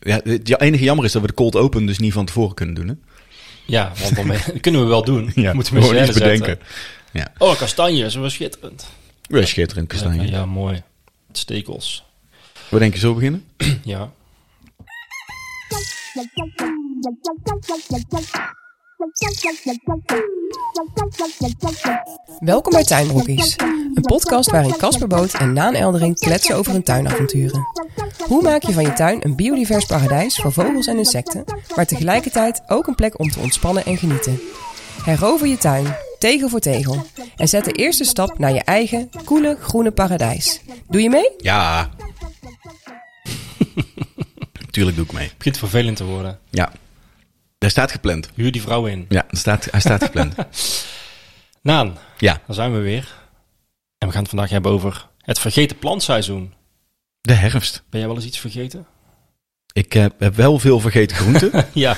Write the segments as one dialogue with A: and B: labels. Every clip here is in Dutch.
A: Ja, het enige jammer is dat we de cold open dus niet van tevoren kunnen doen. Hè?
B: Ja, want dan dat kunnen we wel doen.
A: Ja,
B: Moeten
A: we
B: we
A: gewoon
B: eens
A: iets bedenken. Ja.
B: Oh, kastanjes, dat was schitterend.
A: Ja, schitterend kastanje.
B: Ja, mooi. Stekels.
A: We denken zo beginnen.
B: Ja.
C: Welkom bij Tuinbroekies, een podcast waarin Casper Boot en Naan Eldering kletsen over hun tuinavonturen. Hoe maak je van je tuin een biodivers paradijs voor vogels en insecten, maar tegelijkertijd ook een plek om te ontspannen en genieten? Herover je tuin, tegel voor tegel, en zet de eerste stap naar je eigen, koele, groene paradijs. Doe je mee?
A: Ja. Tuurlijk doe ik mee.
B: Begint vervelend te worden.
A: Ja. Daar staat gepland.
B: Huur die vrouw in.
A: Ja, er staat, hij staat gepland.
B: Naan,
A: ja.
B: daar zijn we weer. En we gaan het vandaag hebben over het vergeten plantseizoen.
A: De herfst.
B: Ben jij wel eens iets vergeten?
A: Ik eh, heb wel veel vergeten groenten.
B: ja.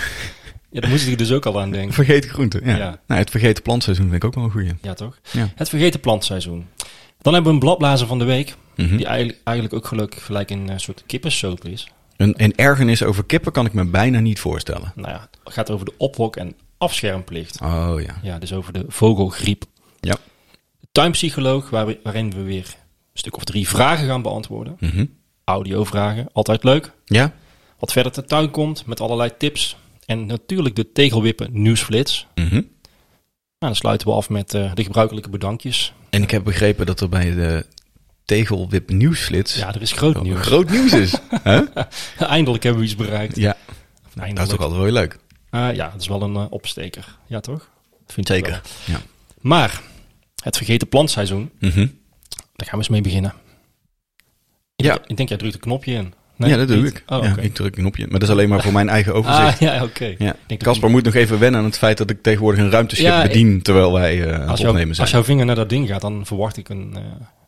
B: ja, daar moest ik dus ook al aan denken.
A: vergeten groenten, ja.
B: Ja.
A: Nou, het vergeten plantseizoen vind ik ook wel een goeie.
B: Ja, toch?
A: Ja.
B: Het vergeten plantseizoen. Dan hebben we een bladblazer van de week.
A: Mhm.
B: Die eigenlijk, eigenlijk ook gelijk, gelijk een eh, soort kippensoap is.
A: Een, een ergernis over kippen kan ik me bijna niet voorstellen.
B: Nou ja, het gaat over de ophok- en afschermplicht.
A: Oh ja.
B: Ja, dus over de vogelgriep.
A: Ja.
B: De tuinpsycholoog, waar we- waarin we weer een stuk of drie vragen gaan beantwoorden.
A: Mhm.
B: Audiovragen, altijd leuk.
A: Ja?
B: Wat verder ter tuin komt, met allerlei tips. En natuurlijk de tegelwippen nieuwsflits.
A: Mhm.
B: Nou, dan sluiten we af met eh, de gebruikelijke bedankjes.
A: En ik heb begrepen dat er bij de tegelwip nieuwsflits
B: Ja, er is groot
A: wel
B: nieuws.
A: groot nieuws is. Hè?
B: Eindelijk hebben we iets bereikt.
A: Ja,
B: Of
A: dat is
B: Eindelijk.
A: toch altijd wel weer leuk.
B: Ah, ja, dat is wel een eh, opsteker. Ja, toch? Vind ik
A: Zeker.
B: wel.
A: Ja.
B: Maar het vergeten plantseizoen,
A: Mhm.
B: daar gaan we eens mee beginnen. Ik
A: Ja.
B: denk- Ik denk, jij drukt een knopje in.
A: ja, dat doe
B: niet?
A: ik.
B: Oh,
A: ja,
B: oké.
A: Ik druk een knopje. Maar dat is alleen maar voor mijn eigen overzicht.
B: Ah, ja, oké.
A: Ja.
B: denk dat
A: Kasper moet nog even wennen aan het feit dat ik tegenwoordig een ruimteschip
B: Ja, ik-
A: bedien terwijl wij eh aan
B: Als,
A: het
B: jouw,
A: opnemen
B: als
A: zijn.
B: jouw vinger naar dat ding gaat, dan verwacht ik een, eh,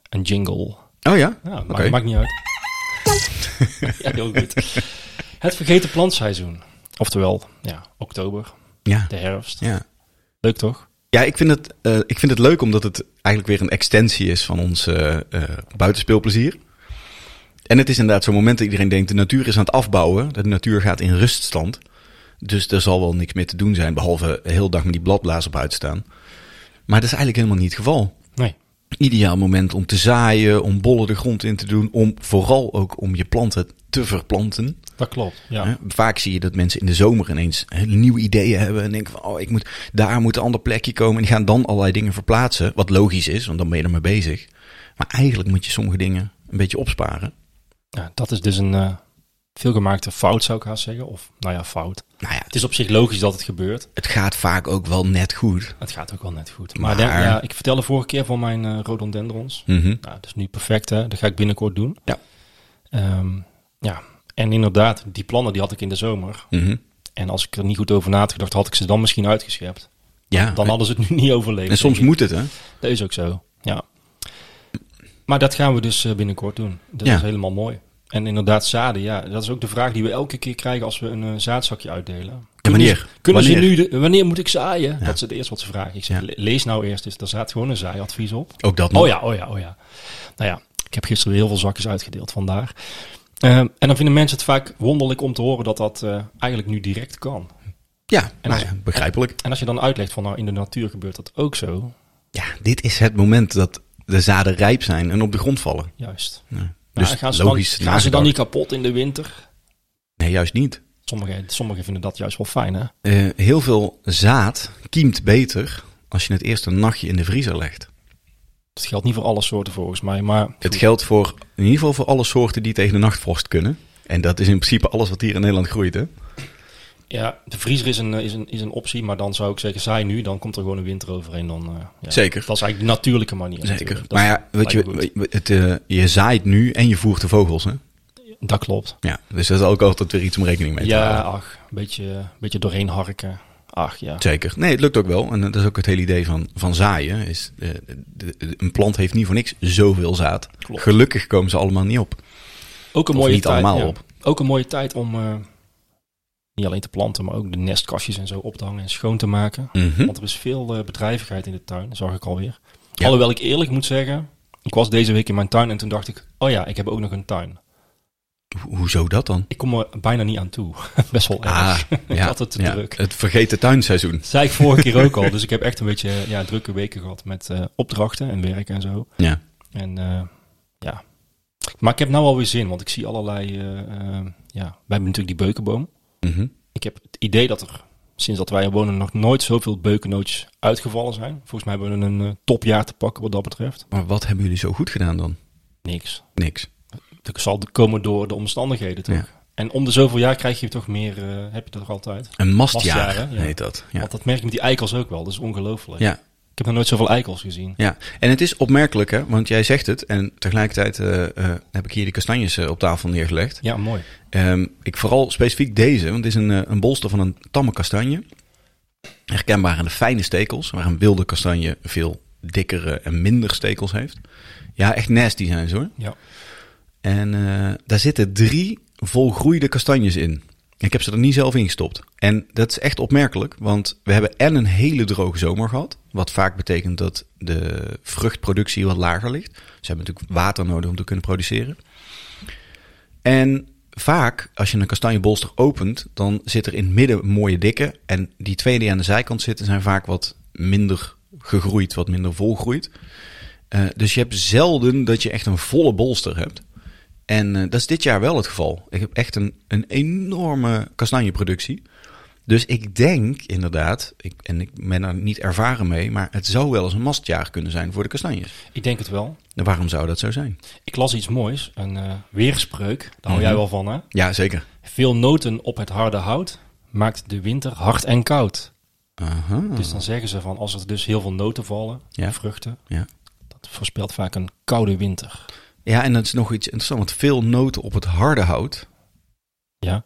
B: een jingle.
A: Oh ja?
B: Ja,
A: Oké.
B: maakt, maakt niet uit. ja, heel goed. Het vergeten plantseizoen. Oftewel, ja, oktober,
A: Ja.
B: de herfst.
A: Ja.
B: Leuk toch?
A: Ja, ik vind, het, eh, ik vind het leuk omdat het eigenlijk weer een extensie is van ons eh, eh, buitenspeelplezier. En het is inderdaad zo'n moment dat iedereen denkt, de natuur is aan het afbouwen. De natuur gaat in ruststand. Dus er zal wel niks meer te doen zijn, behalve de hele dag met die bladblazen buiten staan. Maar dat is eigenlijk helemaal niet het geval.
B: Nee.
A: Ideaal moment om te zaaien, om bollen de grond in te doen. Om vooral ook om je planten te verplanten.
B: Dat klopt, ja.
A: Hè? Vaak zie je dat mensen in de zomer ineens hè, nieuwe ideeën hebben en denken van, oh, ik moet, daar moet een ander plekje komen. En die gaan dan allerlei dingen verplaatsen, wat logisch is, want dan ben je ermee bezig. Maar eigenlijk moet je sommige dingen een beetje opsparen.
B: Ja, dat is dus een eh, veelgemaakte fout, zou ik haast zeggen. Of, nou ja, fout.
A: Nou ja,
B: Het is op zich logisch dat het gebeurt.
A: het gaat vaak ook wel net goed.
B: Het gaat ook wel net goed.
A: Maar-
B: Maar, denk- ja, ik vertelde vorige keer van mijn eh, rhododendrons.
A: Mhm.
B: Nou, dat is nu perfect, hè. Dat ga ik binnenkort doen.
A: Ja.
B: Ehm, ja. En inderdaad, die plannen die had ik in de zomer.
A: Mhm.
B: En als ik er niet goed over na had gedacht, had ik ze dan misschien uitgeschept.
A: Ja,
B: Dan hadden ze het nu niet overleefd.
A: en soms
B: denk ik.
A: moet het, hè?
B: Dat is ook zo, ja. Maar dat gaan we dus eh, binnenkort doen. Dat
A: Ja.
B: is helemaal mooi. En inderdaad, zaden, ja. Dat is ook de vraag die we elke keer krijgen als we een eh, zaadzakje uitdelen. Kunnen
A: wanneer?
B: ze- kunnen ze
A: Wanneer?
B: nu, de- wanneer moet ik zaaien?
A: Ja.
B: Dat is het eerste wat ze vragen. Ik zeg,
A: Ja.
B: le- lees nou eerst eens, daar staat gewoon een zaaiadvies op.
A: Ook dat nog.
B: Oh ja, oh ja, oh ja. Nou ja, ik heb gisteren weer heel veel zakjes uitgedeeld vandaar. Ehm, en dan vinden mensen het vaak wonderlijk om te horen dat dat eh, eigenlijk nu direct kan.
A: Ja,
B: En
A: nou
B: als-
A: ja, begrijpelijk.
B: En als je dan uitlegt van nou, in de natuur gebeurt dat ook zo,
A: Ja, dit is het moment dat de zaden rijp zijn en op de grond vallen.
B: juist.
A: Ja.
B: Maar
A: Dus
B: gaan ze,
A: logisch
B: dan, gaan ze dan
A: nagedacht.
B: niet kapot in de winter?
A: Nee, juist niet.
B: Sommigen sommigen vinden dat juist wel fijn, hè?
A: Eh, heel veel zaad kiemt beter als je het eerst een nachtje in de vriezer legt.
B: Dat geldt niet voor alle soorten volgens mij, maar
A: Het geldt voor in ieder geval voor alle soorten die tegen de nachtvorst kunnen. En dat is in principe alles wat hier in Nederland groeit. Hè?
B: ja, de vriezer is een, eh, is, een, is een optie. Maar dan zou ik zeggen, zij nu, dan komt er gewoon een winter overheen. Dan, eh, ja.
A: Zeker.
B: Dat is eigenlijk de natuurlijke manier.
A: Zeker.
B: natuurlijk. Dat
A: Maar ja, weet
B: lijkt me
A: je, het, eh, je zaait nu en je voert de vogels. Hè?
B: Dat klopt.
A: Ja, dus dat is ook altijd weer iets om rekening mee te
B: Ja,
A: houden.
B: ach, een beetje, beetje doorheen harken. Ach, ja.
A: Zeker. Nee, het lukt ook wel. En dat is ook het hele idee van, van zaaien. Is, eh, de- de- een plant heeft niet voor niks zoveel zaad.
B: Klopt.
A: Gelukkig komen ze allemaal niet op.
B: Ook een
A: Of
B: mooie
A: niet
B: tijd,
A: allemaal
B: ja.
A: op.
B: Ook een mooie tijd om eh, niet alleen te planten, maar ook de nestkastjes en zo op te hangen en schoon te maken.
A: Mhm.
B: Want er is veel eh, bedrijvigheid in de tuin, zag ik alweer.
A: Ja.
B: Alhoewel ik eerlijk moet zeggen, ik was deze week in mijn tuin en toen dacht ik, oh ja, ik heb ook nog een tuin.
A: Ho- Hoezo dat dan?
B: Ik kom er bijna niet aan toe. Best wel erg. Ah, ik had het te
A: Ah, ja,
B: druk.
A: Het vergeten tuinseizoen.
B: Dat zei ik vorige keer ook al. Dus ik heb echt een beetje ja, drukke weken gehad met eh, opdrachten en werk en zo.
A: Ja.
B: En eh, ja. Maar ik heb nou alweer zin, want ik zie allerlei. eh, eh, ja, wij hebben natuurlijk die beukenboom.
A: Mhm.
B: Ik heb het idee dat er sinds dat wij er wonen nog nooit zoveel beukennootjes uitgevallen zijn. Volgens mij hebben we een eh, topjaar te pakken wat dat betreft.
A: Maar wat hebben jullie zo goed gedaan dan?
B: Niks.
A: Niks.
B: Dat zal komen door de omstandigheden toch?
A: Ja.
B: En om de zoveel jaar krijg je toch meer, eh, heb je dat er altijd.
A: Een mastjaar
B: Mastjaar, hè? Ja.
A: heet dat. Ja.
B: Want dat merk je met die eikels ook wel, dat is ongelooflijk.
A: ja.
B: Ik heb nog nooit zoveel eikels gezien.
A: Ja, en het is opmerkelijk, hè? want jij zegt het en tegelijkertijd eh, eh, heb ik hier de kastanjes eh, op tafel neergelegd.
B: Ja, mooi.
A: Ehm, ik vooral specifiek deze, want het is een, eh, een bolster van een tamme kastanje. Herkenbaar aan de fijne stekels, waar een wilde kastanje veel dikkere en minder stekels heeft. Ja, echt nasty zijn ze hoor.
B: Ja.
A: En eh, daar zitten drie volgroeide kastanjes in. Ik heb ze er niet zelf ingestopt. En dat is echt opmerkelijk, want we hebben en een hele droge zomer gehad. Wat vaak betekent dat de vruchtproductie wat lager ligt. Ze hebben natuurlijk water nodig om te kunnen produceren. En vaak, als je een kastanjebolster opent, dan zit er in het midden een mooie dikke. En die twee die aan de zijkant zitten, zijn vaak wat minder gegroeid, wat minder volgroeid. Eh, dus je hebt zelden dat je echt een volle bolster hebt. En eh, dat is dit jaar wel het geval. Ik heb echt een, een enorme kastanjeproductie. Dus ik denk inderdaad, ik, en ik ben daar niet ervaren mee, maar het zou wel eens een mastjaar kunnen zijn voor de kastanjes.
B: Ik denk het wel.
A: Nou, Waarom zou dat zo zijn?
B: Ik las iets moois, een eh, weerspreuk. Daar hou
A: Mhm.
B: jij wel van, hè?
A: Ja, zeker.
B: Veel noten op het harde hout maakt de winter hard en koud.
A: Aha.
B: Dus dan zeggen ze van, als er dus heel veel noten vallen,
A: Mhm. Ja.
B: vruchten,
A: Ja.
B: dat voorspelt vaak een koude winter.
A: Ja, en dat is nog iets interessants, want veel noten op het harde hout.
B: Ja.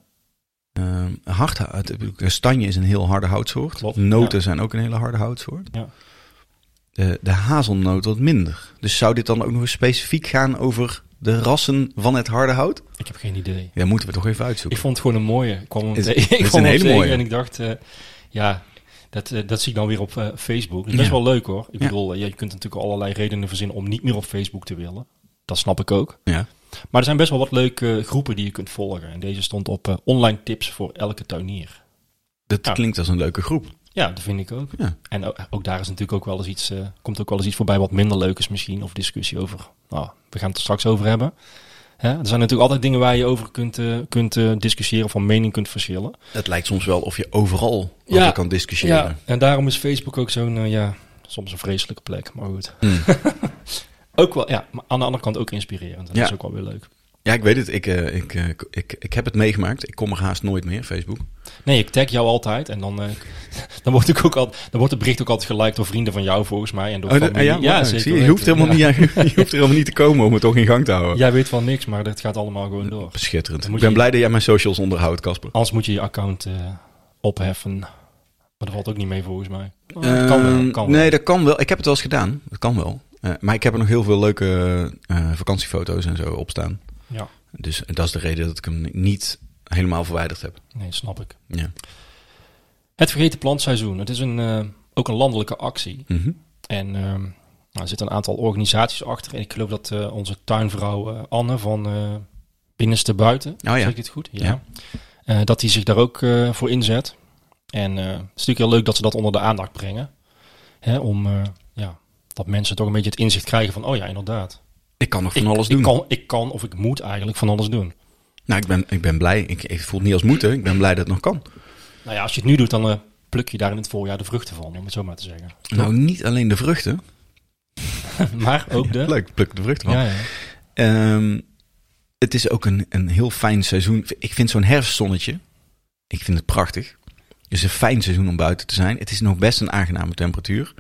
A: Ehm, hard hout, ik bedoel, kastanje is een heel harde houtsoort.
B: Klopt,
A: Noten zijn ook een hele harde houtsoort.
B: Ja.
A: De, de hazelnoot wat minder. Dus zou dit dan ook nog eens specifiek gaan over de rassen van het harde hout?
B: Ik heb geen idee.
A: Ja, moeten we toch even
B: Ik
A: uitzoeken.
B: vond het gewoon een mooie. Ik kwam hem
A: Is-
B: tegen.
A: is
B: Ik kwam
A: een
B: hem
A: hele
B: tegen
A: mooie.
B: En ik dacht, eh, ja, dat, eh, dat zie ik dan weer op eh, Facebook. Dat is best
A: Ja.
B: wel leuk hoor. Ik
A: Ja.
B: bedoel, eh, je kunt natuurlijk allerlei redenen verzinnen om niet meer op Facebook te willen. Dat snap ik ook.
A: Ja.
B: Maar er zijn best wel wat leuke eh, groepen die je kunt volgen. En deze stond op eh, online tips voor elke tuinier.
A: Dat
B: Ja.
A: klinkt als een leuke groep.
B: Ja, dat vind ik ook.
A: Ja.
B: En ook, ook daar is natuurlijk ook wel eens iets, eh, komt ook wel eens iets voorbij wat minder leuk is misschien. Of discussie over, nou, we gaan het er straks over hebben. Hè, er zijn natuurlijk altijd dingen waar je over kunt, eh, kunt eh, discussiëren of van mening kunt verschillen.
A: Het lijkt soms wel of je overal over
B: Ja.
A: kan discussiëren.
B: en daarom is Facebook ook zo'n, eh, ja, soms een vreselijke plek, maar goed.
A: Hmm.
B: Ook wel, ja, maar aan de andere kant ook inspirerend. Dat
A: Ja.
B: is ook wel weer leuk.
A: Ja, ik weet het. Ik, eh, ik, eh, ik, ik, ik heb het meegemaakt. Ik kom er haast nooit meer, Facebook.
B: Nee, ik tag jou altijd en dan, eh, dan, wordt ik ook al, dan wordt het bericht ook altijd geliked door vrienden van jou volgens mij. En door
A: Oh, de-
B: familie.
A: ja, ja,
B: zeker
A: zie je, je,
B: weten.
A: hoeft helemaal
B: Ja.
A: niet, aan- je hoeft er helemaal niet te komen om het toch in gang te houden.
B: Jij weet van niks, maar dat gaat allemaal gewoon door.
A: Schitterend.
B: Dan
A: Ik
B: moet
A: ben
B: je-
A: blij dat jij mijn socials onderhoudt, Casper.
B: Anders moet je je account eh, opheffen. Maar dat valt ook niet mee volgens mij. Oh,
A: Ehm,
B: kan wel, kan wel.
A: Nee, dat kan wel. Ik heb het wel eens gedaan. Dat kan wel. Eh, maar ik heb er nog heel veel leuke eh, vakantiefoto's en zo op staan.
B: Ja,
A: Dus dat is de reden dat ik hem niet helemaal verwijderd heb.
B: nee, snap ik.
A: Ja.
B: Het vergeten plantseizoen. Het is een, eh, ook een landelijke actie.
A: Mhm.
B: En ehm, nou, er zitten een aantal organisaties achter. En ik geloof dat eh, onze tuinvrouw eh, Anne van eh, Binnenste Buiten,
A: Oh
B: zeg
A: ja.
B: ik het goed? Ja.
A: Ja.
B: Eh, dat die zich daar ook eh, voor inzet. En eh, het is natuurlijk heel leuk dat ze dat onder de aandacht brengen. Hè, om eh, ja, dat mensen toch een beetje het inzicht krijgen van, oh ja, inderdaad.
A: Ik kan nog van
B: ik,
A: alles
B: ik
A: doen.
B: Kan, ik kan of ik moet eigenlijk van alles doen.
A: Nou, ik ben, ik ben blij. Ik, ik voel het niet als moeten. Ik ben blij dat het nog kan.
B: Nou ja, als je het nu doet, dan eh, pluk je daar in het voorjaar de vruchten van, om het zo maar te zeggen.
A: Nou, niet alleen de vruchten.
B: maar ook de...
A: Leuk, pluk de vruchten van.
B: Ja, ja.
A: Ehm, het is ook een, een heel fijn seizoen. Ik vind zo'n herfstzonnetje, ik vind het prachtig. Het is een fijn seizoen om buiten te zijn. Het is nog best een aangename temperatuur.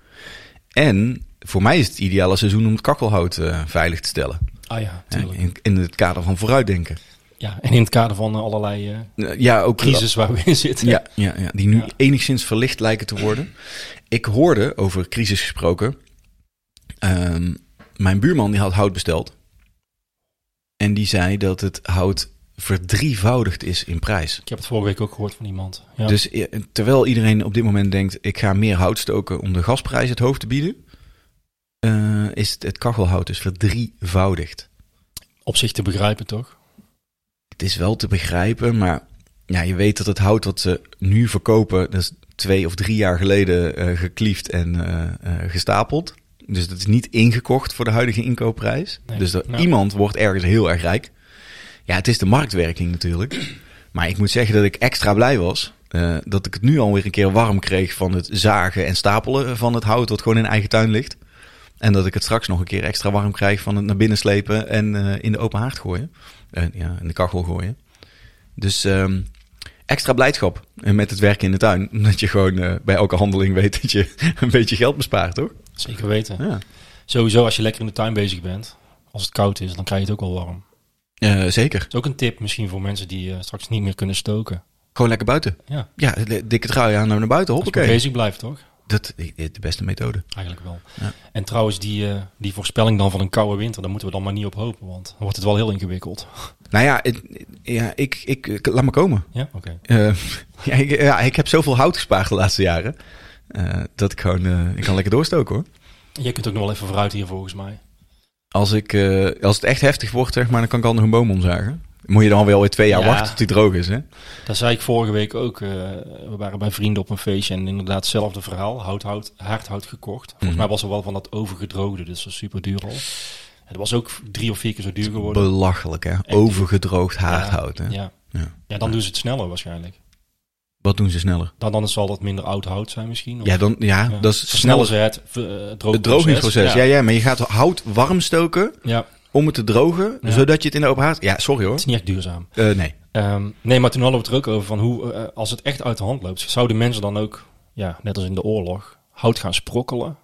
A: En voor mij is het ideale seizoen om het kakkelhout eh, veilig te stellen.
B: Ah ja,
A: Hè,
B: tuurlijk.
A: In, in het kader van vooruitdenken.
B: Ja, en in het kader van eh, allerlei eh,
A: Eh, ja, ook
B: crisis waar we in zitten.
A: Ja, ja, ja, die nu
B: Ja.
A: enigszins verlicht lijken te worden. Ik hoorde, over crisis gesproken, ehm, mijn buurman die had hout besteld. En die zei dat het hout verdrievoudigd is in prijs.
B: Ik heb het vorige week ook gehoord van iemand. Ja.
A: Dus eh, terwijl iedereen op dit moment denkt, ik ga meer hout stoken om de gasprijs het hoofd te bieden, eh, is het, het kachelhout dus verdrievoudigd.
B: op zich te begrijpen, toch?
A: Het is wel te begrijpen, maar ja, je weet dat het hout wat ze nu verkopen, dat is twee of drie jaar geleden eh gekliefd en eh, eh, gestapeld. Dus dat is niet ingekocht voor de huidige inkoopprijs.
B: Nee.
A: Dus dat,
B: Ja.
A: iemand wordt ergens heel erg rijk. Ja, het is de marktwerking natuurlijk. Maar ik moet zeggen dat ik extra blij was. eh, dat ik het nu alweer een keer warm kreeg van het zagen en stapelen van het hout wat gewoon in eigen tuin ligt. En dat ik het straks nog een keer extra warm krijg van het naar binnen slepen en eh, in de open haard gooien. En Eh, ja, in de kachel gooien. Dus ehm, extra blijdschap en met het werken in de tuin. Omdat je gewoon eh, bij elke handeling weet dat je een beetje geld bespaart, toch?
B: Zeker weten.
A: Ja,
B: Sowieso als je lekker in de tuin bezig bent, als het koud is, dan krijg je het ook wel warm.
A: Eh, zeker.
B: Dat is ook een tip misschien voor mensen die eh, straks niet meer kunnen stoken.
A: Gewoon lekker buiten.
B: Ja,
A: Ja, le- dikke trui aan naar buiten.
B: als je maar
A: Hoppakee.
B: bezig blijft toch?
A: Dat is de beste methode.
B: Eigenlijk wel.
A: Ja.
B: En trouwens, die, eh, die voorspelling dan van een koude winter, daar moeten we dan maar niet op hopen, want dan wordt het wel heel ingewikkeld.
A: Nou ja, het- ja ik, ik, ik- laat me komen.
B: Ja, oké.
A: Eh, ja, ik, ja, ik heb zoveel hout gespaard de laatste jaren. eh, dat ik gewoon, eh, ik kan lekker doorstoken hoor.
B: En Jij kunt ook nog wel even vooruit hier volgens mij.
A: Als, ik, eh, als het echt heftig wordt, zeg maar, dan kan ik al nog een boom omzagen. Moet je dan wel weer twee jaar
B: Ja.
A: wachten tot die droog is, hè?
B: Dat zei ik vorige week ook. eh, we waren bij vrienden op een feestje en inderdaad hetzelfde verhaal. Hout, hout, haardhout gekocht. Volgens
A: Mhm.
B: mij was er wel van dat overgedroogde, dus dat is super duur al. Het was ook drie of vier keer zo duur geworden.
A: Belachelijk, hè? Overgedroogd haardhout, hè?
B: Ja.
A: Ja.
B: Ja. dan doen ze het sneller waarschijnlijk.
A: Wat doen ze sneller?
B: Dan, dan zal dat minder oud hout zijn misschien. Of-
A: Ja, dan, ja,
B: ja.
A: dat is
B: Versnellen
A: sneller.
B: ze het, ver- het
A: Het
B: droogproces.
A: drogingsproces. Ja.
B: Ja.
A: Ja, maar je gaat hout warm stoken
B: Ja,
A: om het te drogen,
B: Ja.
A: zodat je het in de open haard... Ja, sorry
B: het
A: hoor.
B: is niet echt duurzaam.
A: Eh, nee.
B: Ehm, nee, maar toen hadden we het er ook over van hoe, eh, als het echt uit de hand loopt, zouden mensen dan ook, ja, net als in de oorlog, hout gaan sprokkelen,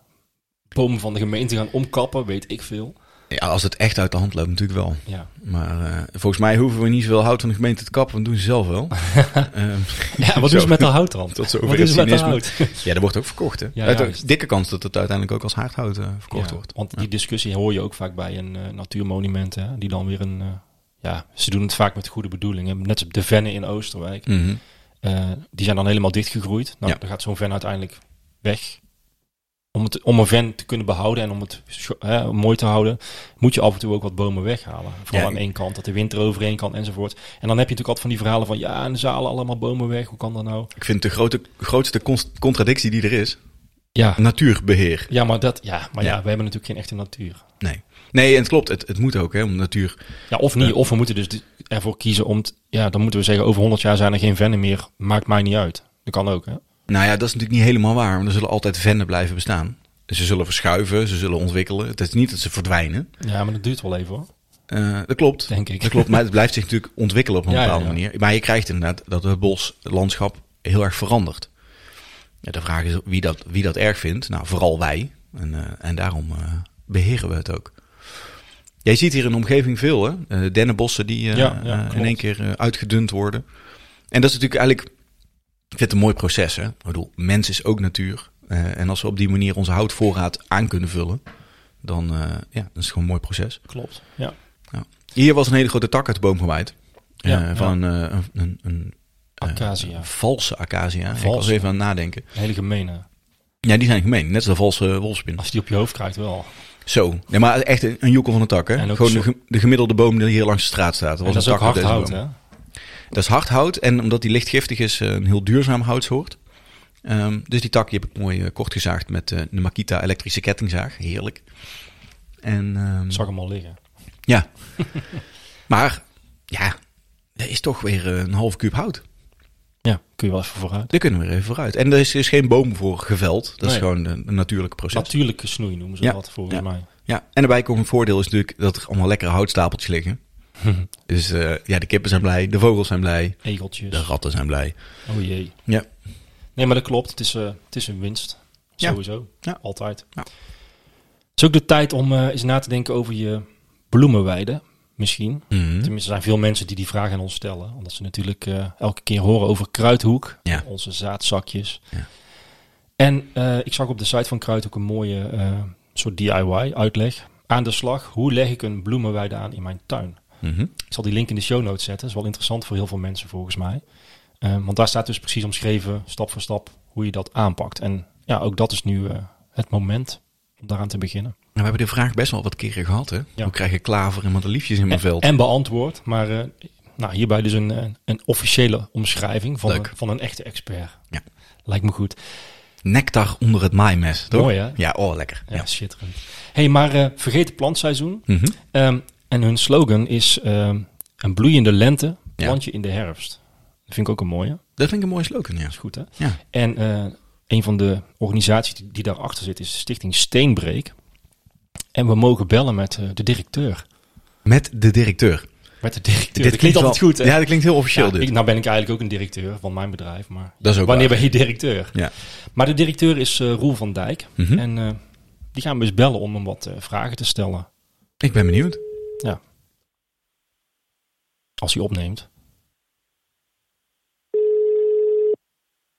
B: bomen van de gemeente gaan omkappen, weet ik veel.
A: Ja, als het echt uit de hand loopt, natuurlijk wel.
B: Ja,
A: Maar eh, volgens mij hoeven we niet zoveel hout van de gemeente te kappen. Dat doen ze zelf wel. Ehm,
B: ja wat
A: Zo.
B: doen ze met dat hout dan?
A: tot
B: Wat
A: zover
B: doen
A: het
B: ze met dat
A: cynisme.
B: hout?
A: Ja, dat wordt ook verkocht, hè?
B: Ja,
A: Uit-
B: juist.
A: dikke kans dat het uiteindelijk ook als haardhout eh, verkocht
B: Ja,
A: wordt.
B: Want
A: Ja.
B: die discussie hoor je ook vaak bij een eh, natuurmonument, hè, die dan weer een, eh, ja, ze doen het vaak met goede bedoelingen. Net als de vennen in Oosterwijk,
A: Mhm.
B: eh, die zijn dan helemaal dichtgegroeid. Nou,
A: Ja.
B: dan gaat zo'n ven uiteindelijk weg. Om, het, om een ven te kunnen behouden en om het scho- hè, mooi te houden, moet je af en toe ook wat bomen weghalen. Vooral
A: Ja,
B: aan
A: ik-
B: één kant, dat de winter overheen kan enzovoort. En dan heb je natuurlijk altijd van die verhalen van, ja, en de zalen allemaal bomen weg, hoe kan dat nou?
A: Ik vind de grote, grootste cons- contradictie die er is,
B: Ja,
A: natuurbeheer.
B: ja maar, dat, ja, maar ja.
A: Ja.
B: we hebben natuurlijk geen echte natuur.
A: Nee. Nee, en het klopt. Het, het moet ook, hè, om natuur...
B: Ja, of niet, of we moeten dus di- ervoor kiezen om, t- ja, dan moeten we zeggen, over 100 jaar zijn er geen vennen meer, maakt mij niet uit. Dat kan ook, hè?
A: Nou ja, dat is natuurlijk niet helemaal waar. Want er zullen altijd vennen blijven bestaan. Ze zullen verschuiven, ze zullen ontwikkelen. Het is niet dat ze verdwijnen.
B: Ja, maar dat duurt wel even hoor,
A: Eh, dat klopt.
B: denk ik.
A: Dat klopt, maar het blijft zich natuurlijk ontwikkelen op een
B: Ja, ja,
A: bepaalde
B: ja.
A: manier. Maar je krijgt inderdaad dat het bos, het landschap heel erg verandert. Ja, de vraag is wie dat, wie dat erg vindt. Nou, vooral wij. En, eh, en daarom eh, beheren we het ook. Jij ziet hier in de omgeving veel, hè? Eh, dennenbossen die eh,
B: Ja, ja,
A: eh, in
B: klopt.
A: één keer eh, uitgedund worden. En dat is natuurlijk eigenlijk... Ik vind het een mooi proces, hè? Ik bedoel, mens is ook natuur. Eh, en als we op die manier onze houtvoorraad aan kunnen vullen... dan eh, ja, dat is het gewoon een mooi proces.
B: Klopt, ja.
A: Hier was een hele grote tak uit de boom gewaaid. Eh,
B: Ja,
A: van eh, een, een, een eh,
B: Acacia.
A: valse acacia. Ik was
B: Valse.
A: even aan het nadenken.
B: Een hele gemene.
A: Ja, die zijn gemeen. Net als de valse wolfspin.
B: Als je die op je hoofd krijgt wel.
A: Zo. Nee, maar echt een, een joekel van een tak. Hè?
B: En ook
A: Gewoon
B: zo-
A: de, ge- de gemiddelde boom die hier langs de straat staat. Dat,
B: en
A: was
B: dat is
A: een
B: ook
A: tak
B: hard
A: uit deze
B: hout,
A: boom.
B: hè?
A: Dat is hardhout. En omdat die lichtgiftig is, eh, een heel duurzaam houtsoort. Ehm, dus die tak die heb ik mooi eh, kort gezaagd met eh, de Makita elektrische kettingzaag. Heerlijk. En, ehm,
B: Ik zag hem al liggen.
A: Ja. maar, ja, dat is toch weer eh, een halve kuub hout.
B: Ja, kun je wel even vooruit.
A: Daar kunnen we er even vooruit. En er is, is geen boom voor geveld. Dat is
B: Nee.
A: gewoon een, een natuurlijke proces.
B: Natuurlijke snoei noemen ze
A: Ja,
B: dat volgens
A: ja.
B: mij.
A: ja, en daarbij komt een voordeel is natuurlijk dat er allemaal lekkere houtstapeltjes liggen. Dus eh, ja, de kippen zijn blij, de vogels zijn blij,
B: Egeltjes.
A: de ratten zijn blij.
B: Oh jee.
A: Ja.
B: Nee, maar dat klopt. Het is, eh, het is een winst.
A: Ja.
B: Sowieso.
A: Ja.
B: Altijd.
A: Ja.
B: Het is ook de tijd om eh, eens na te denken over je bloemenweide. Misschien.
A: Mhm.
B: Tenminste, er zijn veel mensen die die vraag aan ons stellen. Omdat ze natuurlijk eh, elke keer horen over Kruidhoek.
A: Ja.
B: Onze zaadzakjes.
A: Ja.
B: En eh, ik zag op de site van Kruidhoek een mooie eh, soort DIY-uitleg. Aan de slag, hoe leg ik een bloemenweide aan in mijn tuin?
A: Mhm.
B: Ik zal die link in de show notes zetten. is wel interessant voor heel veel mensen volgens mij. Eh, want daar staat dus precies omschreven, stap voor stap, hoe je dat aanpakt. En ja, ook dat is nu eh, het moment om daaraan te beginnen.
A: Nou, we hebben de vraag best wel wat keren gehad, hè? Hoe krijg ik klaver en madeliefjes in mijn
B: En,
A: veld?
B: en beantwoord, maar eh, nou, hierbij dus een, eh, een officiële omschrijving van,
A: Leuk.
B: een- van een echte expert.
A: Ja.
B: Lijkt me goed.
A: Nectar onder het maaimes, toch?
B: Mooi, hè?
A: Ja, oh, lekker.
B: Ja,
A: Ja.
B: schitterend. hey, maar eh, vergeet het plantseizoen.
A: Mhm.
B: Ehm, en hun slogan is ehm, een bloeiende lente,
A: Ja.
B: plantje in de herfst. Dat vind ik ook een mooie.
A: Dat vind ik een mooie slogan, ja.
B: Dat is goed, hè?
A: Ja,
B: En eh, een van de organisaties die, die daarachter zit is de stichting Steenbreek. En we mogen bellen met eh, de directeur.
A: met de directeur.
B: Met de directeur.
A: Dit
B: dat klinkt altijd
A: wel-
B: goed, hè?
A: Ja, dat klinkt heel officieel
B: Ja,
A: dit.
B: ik- nou ben ik eigenlijk ook een directeur van mijn bedrijf, maar
A: Dat is ook
B: wanneer
A: waar.
B: ben je directeur?
A: Ja.
B: Maar de directeur is eh, Roel van Dijk
A: Mhm.
B: en eh, die gaan we eens bellen om hem wat eh, vragen te stellen
A: Ik ben benieuwd.
B: als hij opneemt.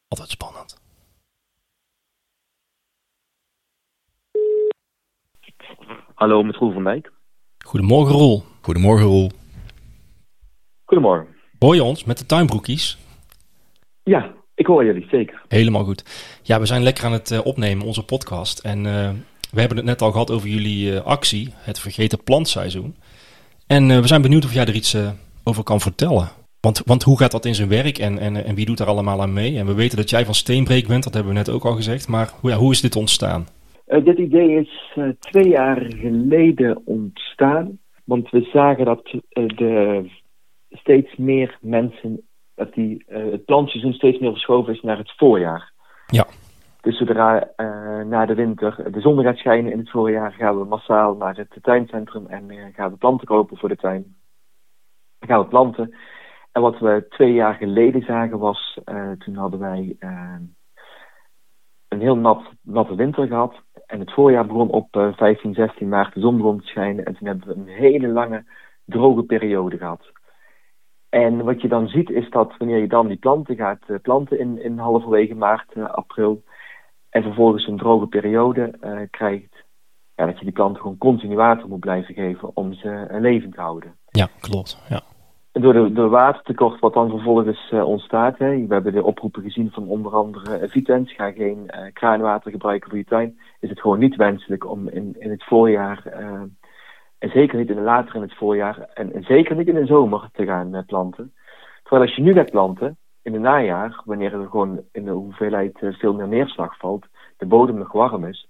B: Altijd spannend.
D: Hallo, met Roel van Dijk.
B: Goedemorgen Roel.
A: Goedemorgen, Roel.
D: Goedemorgen.
B: Hoor je ons met de tuinbroekies?
D: Ja, ik hoor jullie, zeker.
B: Helemaal goed. Ja, we zijn lekker aan het eh, opnemen, onze podcast. En eh, we hebben het net al gehad over jullie eh, actie, het vergeten plantseizoen. En eh, we zijn benieuwd of jij er iets eh, over kan vertellen. Want, want hoe gaat dat in zijn werk en, en, en wie doet daar allemaal aan mee? En we weten dat jij van Steenbreek bent, dat hebben we net ook al gezegd. Maar hoe- ja, hoe is dit ontstaan?
D: Eh, dit idee is eh, twee jaar geleden ontstaan. Want we zagen dat eh, de steeds meer mensen, dat die, eh, het plantseizoen steeds meer verschoven is naar het voorjaar.
B: Ja.
D: Dus zodra eh, na de winter de zon gaat schijnen in het voorjaar, gaan we massaal naar het tuincentrum en eh, gaan we planten kopen voor de tuin. Dan gaan we planten. En wat we twee jaar geleden zagen was, eh, toen hadden wij eh, een heel nat, natte winter gehad. En het voorjaar begon op eh, 15, 16 maart, de zon begon te schijnen. En toen hebben we een hele lange, droge periode gehad. En wat je dan ziet is dat wanneer je dan die planten gaat eh, planten in, in halverwege maart, eh, april. En vervolgens een droge periode eh, krijgt. Ja, dat je die planten gewoon continu water moet blijven geven om ze eh, levend te houden.
B: Ja, klopt. Ja.
D: Door de, door watertekort wat dan vervolgens eh, ontstaat. Hè. We hebben de oproepen gezien van onder andere eh, Vitens. Ga geen eh, kraanwater gebruiken voor je tuin. Is het gewoon niet wenselijk om in, in het voorjaar... eh, en zeker niet in de later in het voorjaar... En, en zeker niet in de zomer te gaan eh, planten. Terwijl als je nu gaat planten, in het najaar... wanneer er gewoon in de hoeveelheid eh, veel meer neerslag valt... de bodem nog warm is...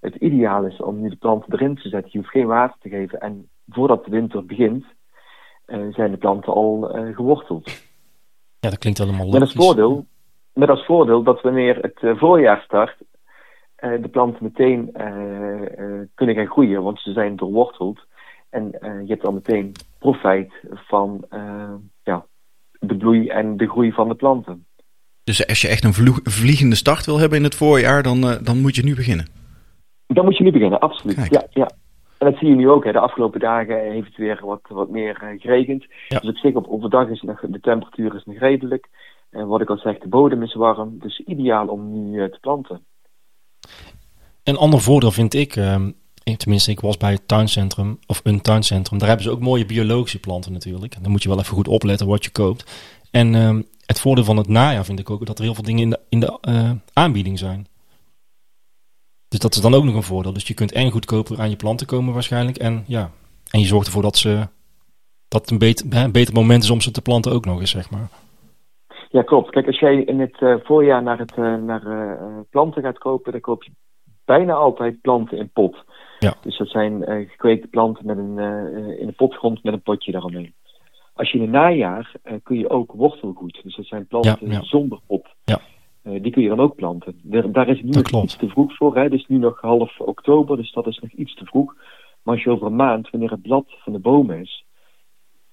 D: het ideaal is om nu de planten erin te zetten. Je hoeft geen water te geven. En voordat de winter begint eh, zijn de planten al eh, geworteld.
B: ja, dat klinkt helemaal
D: Met als,
B: logisch.
D: voordeel, met als voordeel dat wanneer het eh, voorjaar start, eh, de planten meteen eh, eh, kunnen gaan groeien, want ze zijn doorworteld. En eh, je hebt dan meteen profijt van eh, ja, de bloei en de groei van de planten.
A: Dus als je echt een vloeg- vliegende start wil hebben in het voorjaar, dan, eh, dan moet je nu beginnen.
D: Dan moet je nu beginnen, absoluut.
A: Kijk.
D: Ja, ja. En dat zie je nu ook. Hè. De afgelopen dagen heeft het weer wat, wat meer eh, geregend.
B: Ja.
D: Dus op zich, op overdag is het nog, de temperatuur is nog redelijk. En wat ik al zeg, de bodem is warm. Dus ideaal om nu eh, te planten.
B: Een ander voordeel vind ik, ehm, ik- tenminste ik was bij het tuincentrum, of een tuincentrum, daar hebben ze ook mooie biologische planten natuurlijk. Dan moet je wel even goed opletten wat je koopt. En ehm, het voordeel van het najaar vind ik ook dat er heel veel dingen in de, in de eh, aanbieding zijn. Dus dat is dan ook nog een voordeel. Dus je kunt en goedkoper aan je planten komen waarschijnlijk. En ja, en je zorgt ervoor dat ze dat het een beter, hè, een beter moment is om ze te planten ook nog eens, zeg maar.
D: Ja, klopt. Kijk, als jij in het eh, voorjaar naar, het, eh, naar eh, eh, planten gaat kopen, dan koop je bijna altijd planten in pot.
B: Ja.
D: Dus dat zijn eh, gekweekte planten met een, eh, eh, in de potgrond met een potje daaromheen. Als je in het najaar eh, kun je ook wortelgoed. Dus dat zijn planten
B: Ja, ja.
D: zonder pot.
B: Ja.
D: Eh, die kun je dan ook planten. Daar, daar is het nu
B: Dat
D: nog
B: klopt.
D: iets te vroeg voor. Hè? Het is nu nog half oktober, dus dat is nog iets te vroeg. Maar als je over een maand, wanneer het blad van de boom is,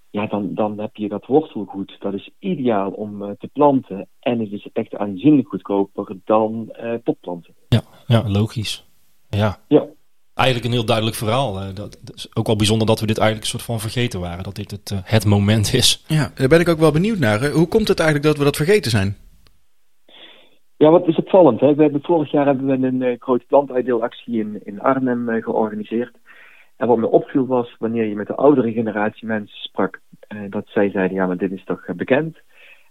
D: ja, dan, dan heb je dat wortelgoed. Dat is ideaal om eh, te planten. En het is echt aanzienlijk goedkoper dan eh, potplanten.
B: Ja, ja logisch. Ja.
D: Ja.
B: Eigenlijk een heel duidelijk verhaal. eh, Dat, dat is ook wel bijzonder dat we dit eigenlijk een soort van vergeten waren. Dat dit het, eh, het moment is.
A: Ja, daar ben ik ook wel benieuwd naar. hè. Hoe komt het eigenlijk dat we dat vergeten zijn?
D: Ja, wat is opvallend. Hè? We hebben, vorig jaar hebben we een eh, grote plantuitdeelactie in, in Arnhem eh, georganiseerd. En wat me opviel was, wanneer je met de oudere generatie mensen sprak, eh, dat zij zeiden, ja, maar dit is toch eh, bekend.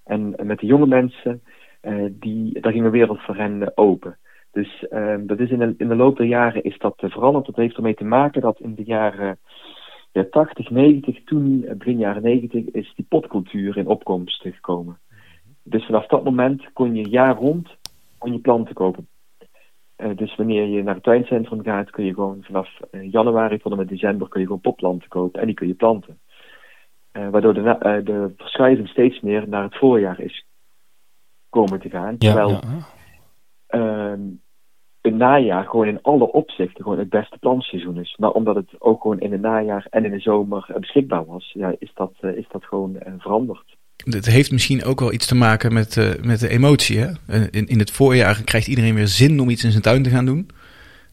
D: En eh, met de jonge mensen, eh, die, daar ging een wereld voor hen eh, open. Dus eh, dat is in, de, in de loop der jaren is dat eh, veranderd. Dat heeft ermee te maken dat in de jaren ja, 80, 90, toen, eh, begin jaren 90, is die popcultuur in opkomst gekomen. Dus vanaf dat moment kon je jaar rond kon je planten kopen. Eh, dus wanneer je naar het tuincentrum gaat, kun je gewoon vanaf eh, januari tot en met december kun je gewoon popplanten kopen en die kun je planten. Eh, waardoor de, na- eh, de verschuiving steeds meer naar het voorjaar is komen te gaan.
B: Ja,
D: terwijl
B: ja, ja.
D: ehm het najaar gewoon in alle opzichten gewoon het beste plantseizoen is. Maar omdat het ook gewoon in het najaar en in de zomer eh, beschikbaar was, ja, is, dat, eh, is dat gewoon eh, veranderd.
A: Het heeft misschien ook wel iets te maken met, eh, met de emotie. Hè? Eh, In, in het voorjaar krijgt iedereen weer zin om iets in zijn tuin te gaan doen.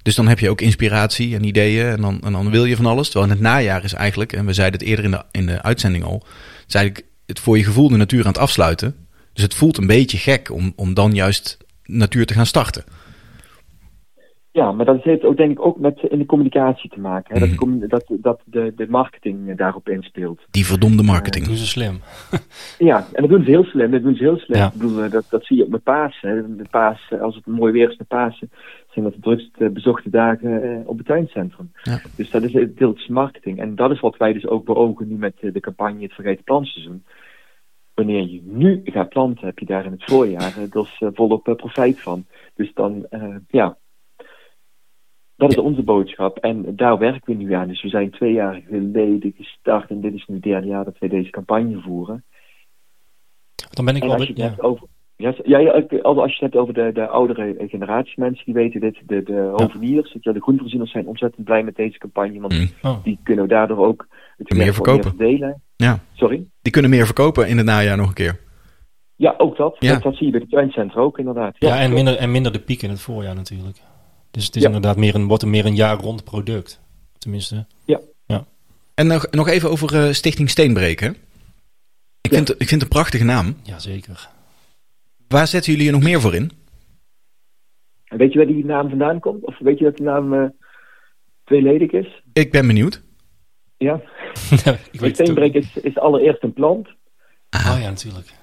A: Dus dan heb je ook inspiratie en ideeën en dan, en dan wil je van alles. Terwijl in het najaar is eigenlijk, en we zeiden het eerder in de, in de uitzending al, het is eigenlijk het voor je gevoel de natuur aan het afsluiten. Dus het voelt een beetje gek om, om dan juist natuur te gaan starten.
D: Ja, maar dat heeft ook denk ik ook met eh, in de communicatie te maken. Hè? Dat, de commu- dat, dat de, de marketing eh, daarop inspeelt.
A: Die verdomde
B: Doe
A: marketing.
B: ze slim.
D: Ja, en dat doen ze heel slim. Dat doen ze heel slim.
B: Ja.
D: Ik bedoel, eh, dat, dat zie je ook met Pasen. hè. Met Pasen, als het mooi weer is met Pasen, zijn dat de drukst eh, bezochte dagen eh, op het tuincentrum.
A: Ja.
D: Dus dat is het deels marketing. En dat is wat wij dus ook beogen nu met eh, de campagne Het Vergeten Plantseizoen. Wanneer je nu gaat planten, heb je daar in het voorjaar eh, dus eh, volop eh, profijt van. Dus dan, eh, ja, dat is onze boodschap. En daar werken we nu aan. Dus we zijn twee jaar geleden gestart en dit is nu het derde jaar dat wij deze campagne voeren.
B: Dan ben ik
D: En
B: wel...
D: als je het
B: be- ja.
D: hebt over. Ja, ja, ja, ik- als als je het hebt over de, de oudere eh, generatie mensen, die weten dit. De, de hoveniers, ja, de groenvoorzieners zijn ontzettend blij met deze campagne. Want
A: Mm.
B: Oh.
D: die kunnen daardoor ook het
A: Meer
D: werk wat
A: verkopen.
D: delen.
A: Ja.
D: Sorry?
A: Die kunnen meer verkopen in het najaar nog een keer.
D: Ja, ook dat.
A: Ja.
D: Dat, dat zie je bij de tuincentra ook inderdaad.
B: Ja, en minder, en minder de piek in het voorjaar natuurlijk. Dus het is
D: Ja.
B: inderdaad meer een, wordt een meer een jaar rond product. Tenminste.
A: En nog, nog even over eh, Stichting Steenbreken. Ik,
D: Ja.
A: vind, het- ik vind het een prachtige naam.
B: Jazeker.
A: Waar zetten jullie er nog meer voor in?
D: En weet je waar die naam vandaan komt? Of weet je dat die naam eh, tweeledig is?
A: Ik ben benieuwd.
D: Ja.
B: ik weet het ook
D: Steenbreek is, is allereerst een plant
B: niet. Oh ja, natuurlijk.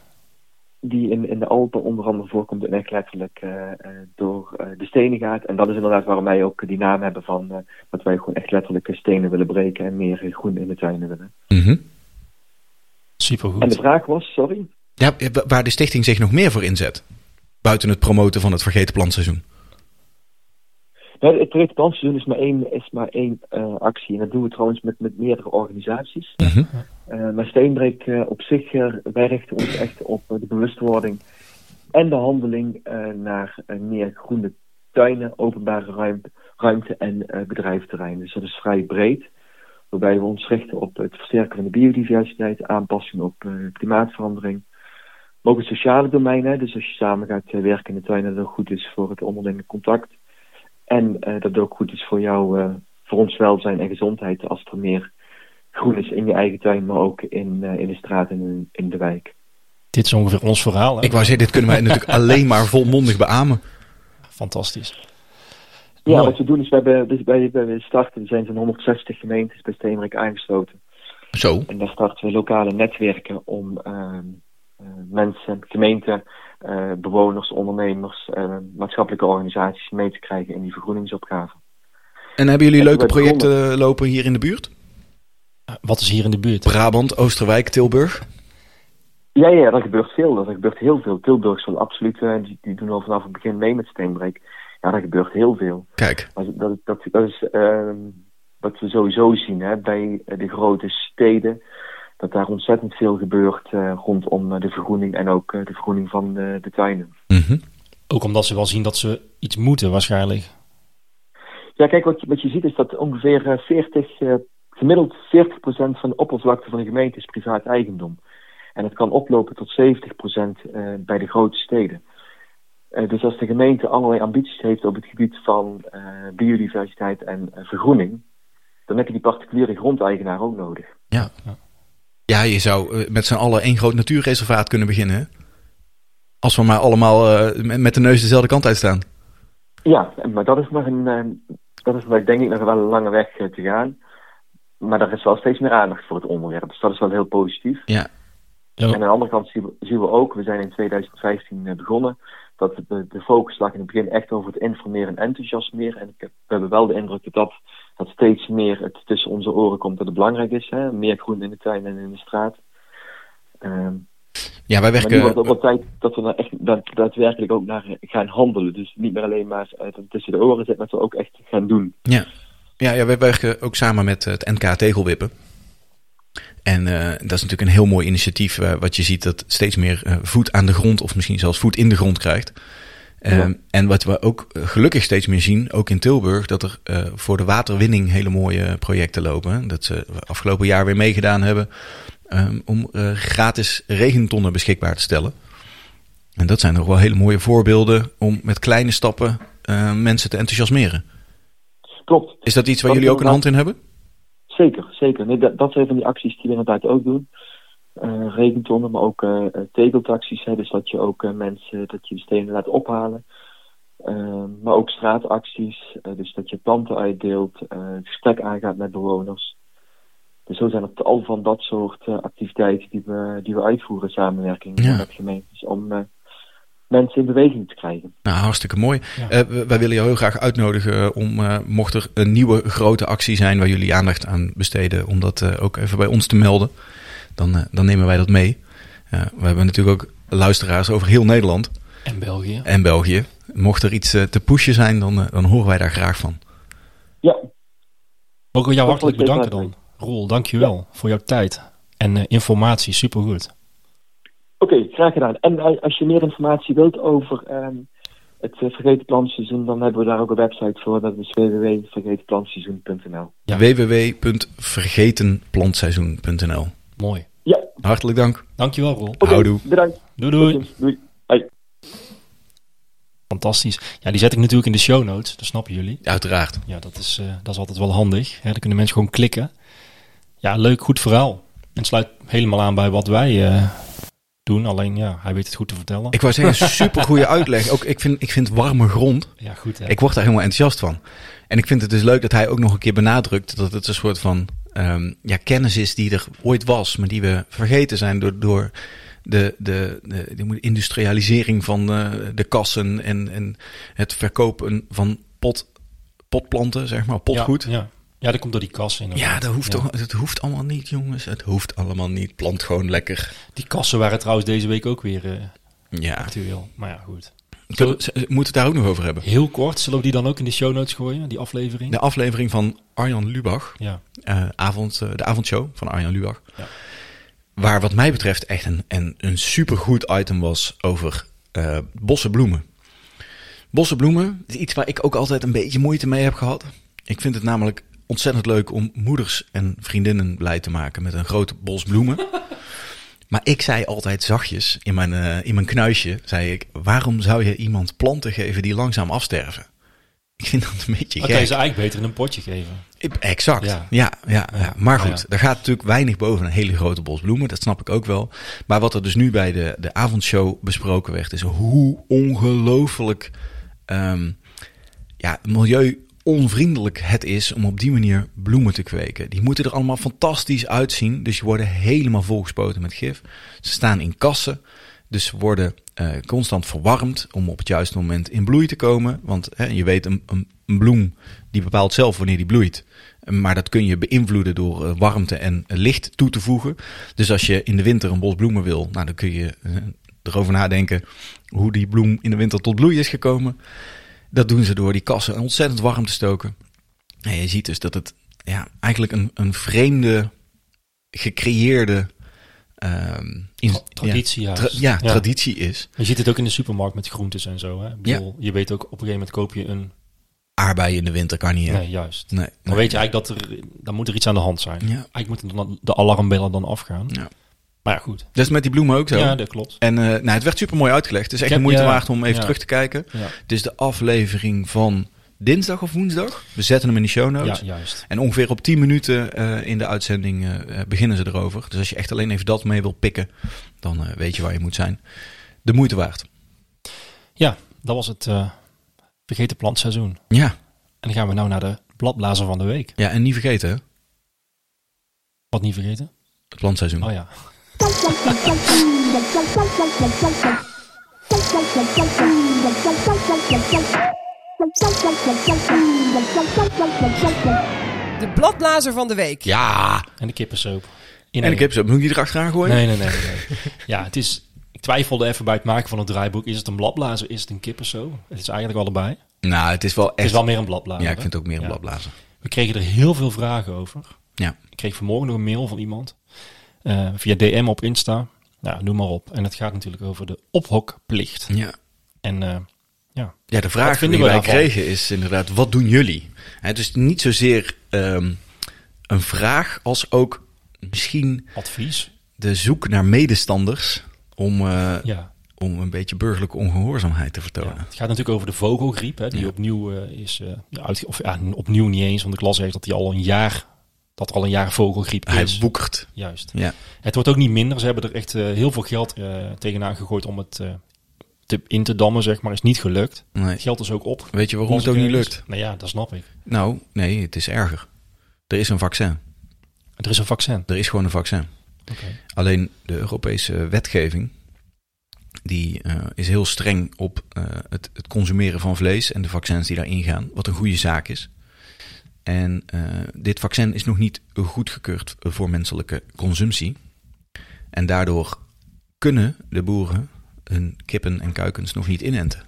D: die in, in de Alpen onder andere voorkomt en echt letterlijk eh, eh, door eh, de stenen gaat. En dat is inderdaad waarom wij ook die naam hebben van eh, dat wij gewoon echt letterlijk eh, stenen willen breken en meer eh, groen in de tuinen willen.
A: Mhm.
D: En de
B: Supergoed.
D: vraag was, sorry?
A: Ja, wa- waar de stichting zich nog meer voor inzet. Buiten het promoten van het vergeten plantseizoen.
D: Nou, het project Dansseizoen is maar één, is maar één eh, actie. En dat doen we trouwens met, met meerdere organisaties.
A: Mhm.
D: Eh, maar Steenbreek eh, op zich, eh, wij richten ons echt op eh, de bewustwording en de handeling eh, naar eh, meer groene tuinen, openbare ruimte, ruimte en eh bedrijfterreinen. Dus dat is vrij breed. Waarbij we ons richten op het versterken van de biodiversiteit, aanpassing op eh, klimaatverandering. Maar ook het sociale domein, hè, dus als je samen gaat eh, werken in de tuin, dat het ook goed is voor het onderlinge contact. En eh, dat het ook goed is voor jou, eh, voor ons welzijn en gezondheid, als er meer groen is in je eigen tuin, maar ook in, eh, in de straat en in, in de wijk.
B: Dit is ongeveer ons verhaal. hè?
A: Ik wou zeggen, dit kunnen wij natuurlijk alleen maar volmondig beamen.
B: Fantastisch.
D: Ja,
B: Mooi.
D: wat we doen is, we, hebben, dus bij, bij- we starten, er zijn zo'n 160 gemeentes bij Steenrijk aangesloten.
A: Zo.
D: En daar starten we lokale netwerken om ehm, eh, mensen, gemeenten, eh, bewoners, ondernemers, eh, maatschappelijke organisaties mee te krijgen in die vergroeningsopgave.
A: En hebben jullie
D: Ja,
A: leuke
D: ik ben
A: projecten lopen hier in de buurt?
B: Eh, Wat is hier in de buurt?
A: Brabant, Oosterwijk, Tilburg.
D: Ja, ja, dat gebeurt veel. Dat gebeurt heel veel. Tilburg zal absoluut, eh, die, die doen al vanaf het begin mee met Steenbreek. Ja, dat gebeurt heel veel.
A: Kijk,
D: Maar dat, dat, dat is ehm, wat we sowieso zien hè, bij eh, de grote steden. Dat daar ontzettend veel gebeurt eh, rondom eh, de vergroening en ook eh, de vergroening van eh, de tuinen.
A: Mhm.
B: Ook omdat ze wel zien dat ze iets moeten waarschijnlijk.
D: Ja, kijk, wat je, wat je ziet is dat ongeveer eh, 40, eh, gemiddeld 40% van de oppervlakte van de gemeente is privaat eigendom. En dat kan oplopen tot 70% eh, bij de grote steden. Eh, dus als de gemeente allerlei ambities heeft op het gebied van eh, biodiversiteit en eh, vergroening, dan heb je die particuliere grondeigenaar ook nodig.
A: ja. Ja, je zou eh, met z'n allen één groot natuurreservaat kunnen beginnen. hè? Als we maar allemaal eh, met- met de neus dezelfde kant uit staan.
D: Ja, en- maar dat is nog een, eh, dat is nog, denk ik nog wel een lange weg eh, te gaan. Maar er is wel steeds meer aandacht voor het onderwerp, dus dat is wel heel positief.
A: Ja.
B: Ja.
D: En aan de andere kant zien we, zien we ook, we zijn in 2015 begonnen, dat de, de focus lag in het begin echt over het informeren en enthousiasmeren. En ik heb, we hebben wel de indruk dat dat, dat steeds meer het tussen onze oren komt dat het belangrijk is. Hè? Meer groen in de tuin en in de straat. Ehm,
A: Ja, wij
D: maar nu wordt
A: werken.
D: het ook wel tijd dat we daar echt daad- daadwerkelijk ook naar eh, gaan handelen. Dus niet meer alleen maar eh, dat het tussen de oren zit, maar dat we ook echt gaan doen.
A: Ja, ja, ja wij werken ook samen met eh, het NK Tegelwippen. En eh, dat is natuurlijk een heel mooi initiatief, eh, wat je ziet dat steeds meer eh, voet aan de grond, of misschien zelfs voet in de grond krijgt. Eh,
D: Ja.
A: En wat we ook eh, gelukkig steeds meer zien, ook in Tilburg, dat er eh, voor de waterwinning hele mooie projecten lopen. Dat ze afgelopen jaar weer meegedaan hebben ehm, om eh, gratis regentonnen beschikbaar te stellen. En dat zijn nog wel hele mooie voorbeelden om met kleine stappen eh, mensen te enthousiasmeren.
D: Klopt.
A: Is dat iets waar
D: Dat
A: jullie ook een
D: inderdaad-
A: hand in hebben?
D: Zeker, zeker. Nee, dat, dat zijn van die acties die we inderdaad ook doen. Eh regentonnen, maar ook eh eh, tegeltacties. Hè, dus dat je ook eh, mensen, dat je de stenen laat ophalen. Eh, maar ook straatacties. eh, dus dat je planten uitdeelt, eh, het gesprek aangaat met bewoners. Dus zo zijn er al van dat soort eh, activiteiten die we, die we uitvoeren in samenwerking
A: Ja.
D: met gemeentes. Om eh, mensen in beweging te krijgen.
A: Nou, hartstikke mooi.
B: Ja.
A: Eh, we- wij willen je heel graag uitnodigen om, eh, mocht er een nieuwe grote actie zijn waar jullie aandacht aan besteden, om dat eh, ook even bij ons te melden. Dan, eh, dan nemen wij dat mee. Eh, we hebben natuurlijk ook luisteraars over heel Nederland
B: En België.
A: en België. Mocht er iets eh, te pushen zijn, dan, eh, dan horen wij daar graag van.
D: Ja,
B: Mag ik jou hartelijk
D: Dat is
B: bedanken dan. Roel, dankjewel voor jouw tijd en eh, informatie. Supergoed.
D: Oké, graag gedaan. En eh, als je meer informatie wilt over ehm, het eh, Vergeten Plantseizoen, dan hebben we daar ook een website voor. Dat is www.vergetenplantseizoen.nl.
B: Ja.
A: www.vergetenplantseizoen.nl
B: Mooi.
D: Ja, oké.
A: Hartelijk dank.
B: Dankjewel Roel.
A: Houdoe.
D: Bedankt.
B: Doei doei.
D: Tot ziens. Doei. Hoi.
B: Fantastisch. Ja, die zet ik natuurlijk in de show notes. Dat snappen jullie.
A: Uiteraard.
B: Ja, dat is, eh, dat is altijd wel handig. Hè? Dan kunnen mensen gewoon klikken. Ja, leuk, goed verhaal. En het sluit helemaal aan bij wat wij eh, doen. Alleen ja, hij weet het goed te vertellen.
A: Ik wou zeggen, supergoeie uitleg. Ook, ik, vind, ik vind warme grond
B: ja, goed hè.
A: Ik word daar helemaal enthousiast van. En ik vind het dus leuk dat hij ook nog een keer benadrukt dat het een soort van ehm, ja, kennis is die er ooit was, maar die we vergeten zijn door, door de, de, de, de industrialisering van eh, de kassen en, en het verkopen van pot, potplanten, zeg maar, potgoed.
B: Ja,
A: Ja,
B: ja. ja, dat komt door die kassen inderdaad.
A: dat hoeft
B: Ja.
A: toch, het hoeft allemaal niet, jongens. Het hoeft allemaal niet. Plant gewoon lekker.
B: Die kassen waren trouwens deze week ook weer eh,
A: Ja.
B: actueel. Maar ja, goed.
A: Kunnen we- moeten we het daar ook nog over hebben?
B: Heel kort, zullen we die dan ook in de show notes gooien? Die aflevering?
A: De aflevering van Arjan Lubach.
B: Ja.
A: eh, avond, eh, de avondshow van Arjan Lubach.
B: Ja.
A: Waar wat mij betreft echt een, een, een supergoed item was over eh bossenbloemen. Bossenbloemen is iets waar ik ook altijd een beetje moeite mee heb gehad. Ik vind het namelijk ontzettend leuk om moeders en vriendinnen blij te maken met een grote bos bloemen. Maar ik zei altijd zachtjes in mijn, eh, in mijn knuisje, zei ik, waarom zou je iemand planten geven die langzaam afsterven? Ik vind dat een beetje
B: Dan
A: gek.
B: kan je ze eigenlijk beter in een potje geven.
A: Ik- Exact.
B: Ja.
A: Ja, ja, ja, maar goed.
B: Ja, ja.
A: Er gaat natuurlijk weinig boven een hele grote bos bloemen. Dat snap ik ook wel. Maar wat er dus nu bij de, de avondshow besproken werd, is hoe ongelooflijk ehm, ja, milieu-onvriendelijk het is om op die manier bloemen te kweken. Die moeten er allemaal fantastisch uitzien. Dus je worden helemaal volgespoten met gif. Ze staan in kassen. Dus ze worden eh, constant verwarmd om op het juiste moment in bloei te komen. Want hè, je weet, een, een, een bloem die bepaalt zelf wanneer die bloeit. Maar dat kun je beïnvloeden door eh, warmte en eh, licht toe te voegen. Dus als je in de winter een bos bloemen wil, nou, dan kun je eh, erover nadenken hoe die bloem in de winter tot bloei is gekomen. Dat doen ze door die kassen ontzettend warm te stoken. En je ziet dus dat het ja, eigenlijk een, een vreemde, gecreëerde ehm, in-
B: Tra- traditie
A: ja,
B: juist.
A: tra- ja,
B: Ja.
A: traditie is.
B: Je ziet het ook in de supermarkt met groentes en zo. Hè? Ik bedoel, Je weet ook, op een gegeven moment koop je een...
A: Aardbeien in de winter kan niet. hè?
B: Nee, juist.
A: nee,
B: Dan
A: nee.
B: weet je eigenlijk dat er... Dan moet er iets aan de hand zijn.
A: Ja.
B: Eigenlijk moeten dan de alarmbellen dan afgaan.
A: Ja.
B: Maar ja, goed.
A: Dat is met die bloemen ook zo.
B: Ja, dat klopt.
A: En eh, nou, het werd super mooi uitgelegd. Het is echt
B: Ik heb-
A: de moeite
B: ja,
A: waard om even
B: ja.
A: terug te kijken.
B: Ja,
A: Het is de aflevering van dinsdag of woensdag. We zetten hem in de show
B: ja
A: notes.
B: juist.
A: En ongeveer op 10 minuten eh, in de uitzending eh, eh, beginnen ze erover. Dus als je echt alleen even dat mee wil pikken, dan eh, weet je waar je moet zijn. De moeite waard.
B: Ja, dat was het eh, vergeten plantseizoen. En
A: Ja,
B: dan gaan we nou naar de bladblazer van de week.
A: ja en niet vergeten, hè,
B: Wat niet vergeten?
A: het plantseizoen.
B: Oh ja.
C: De bladblazer van de week.
A: Ja,
B: En de kippensoep. In
A: en
B: één.
A: ik heb ze ook nog niet erachteraan gooien.
B: Nee, nee, nee. nee, nee. ja, het is... Ik twijfelde even bij het maken van het draaiboek. Is het een bladblazer? Is het een kippensoep? Het is eigenlijk allebei.
A: Nou, het is wel echt...
B: Het is wel meer een bladblazer.
A: ja, ik vind het ook meer een
B: Ja.
A: bladblazer.
B: We kregen er heel veel vragen over.
A: Ja.
B: Ik kreeg vanmorgen nog een mail van iemand eh, via DM op Insta. Nou, noem maar op. En het gaat natuurlijk over de ophokplicht.
A: Ja.
B: En eh, ja,
A: Ja, de vraag die
B: vinden
A: wij
B: we daarvan?
A: kregen is inderdaad, wat doen jullie? Het is niet zozeer ehm, een vraag als ook misschien
B: advies.
A: de zoek naar medestanders om, eh,
B: Ja.
A: om een beetje burgerlijke ongehoorzaamheid te
B: ja.
A: vertonen.
B: Het gaat natuurlijk over de vogelgriep, hè, die
A: Ja.
B: opnieuw eh, is eh, ja, uit, of ja, opnieuw niet eens, want de klas heeft dat die al een jaar dat er al een jaar vogelgriep
A: Hij
B: is.
A: woekert.
B: Juist.
A: Ja.
B: Het wordt ook niet minder. Ze hebben er echt eh, heel veel geld eh, tegenaan gegooid om het eh, te, in te dammen, zeg maar. Is niet gelukt.
A: Nee.
B: Het geld is ook op.
A: Weet je waarom het ook niet lukt?
B: Nou ja, dat snap ik.
A: Nou, nee, het is erger. Er is een vaccin.
B: Er is een vaccin.
A: Er is gewoon een vaccin. Alleen de Europese wetgeving die eh, is heel streng op eh, het, het consumeren van vlees en de vaccins die daarin gaan, wat een goede zaak is. En eh, dit vaccin is nog niet goedgekeurd voor menselijke consumptie. En daardoor kunnen de boeren hun kippen en kuikens nog niet inenten.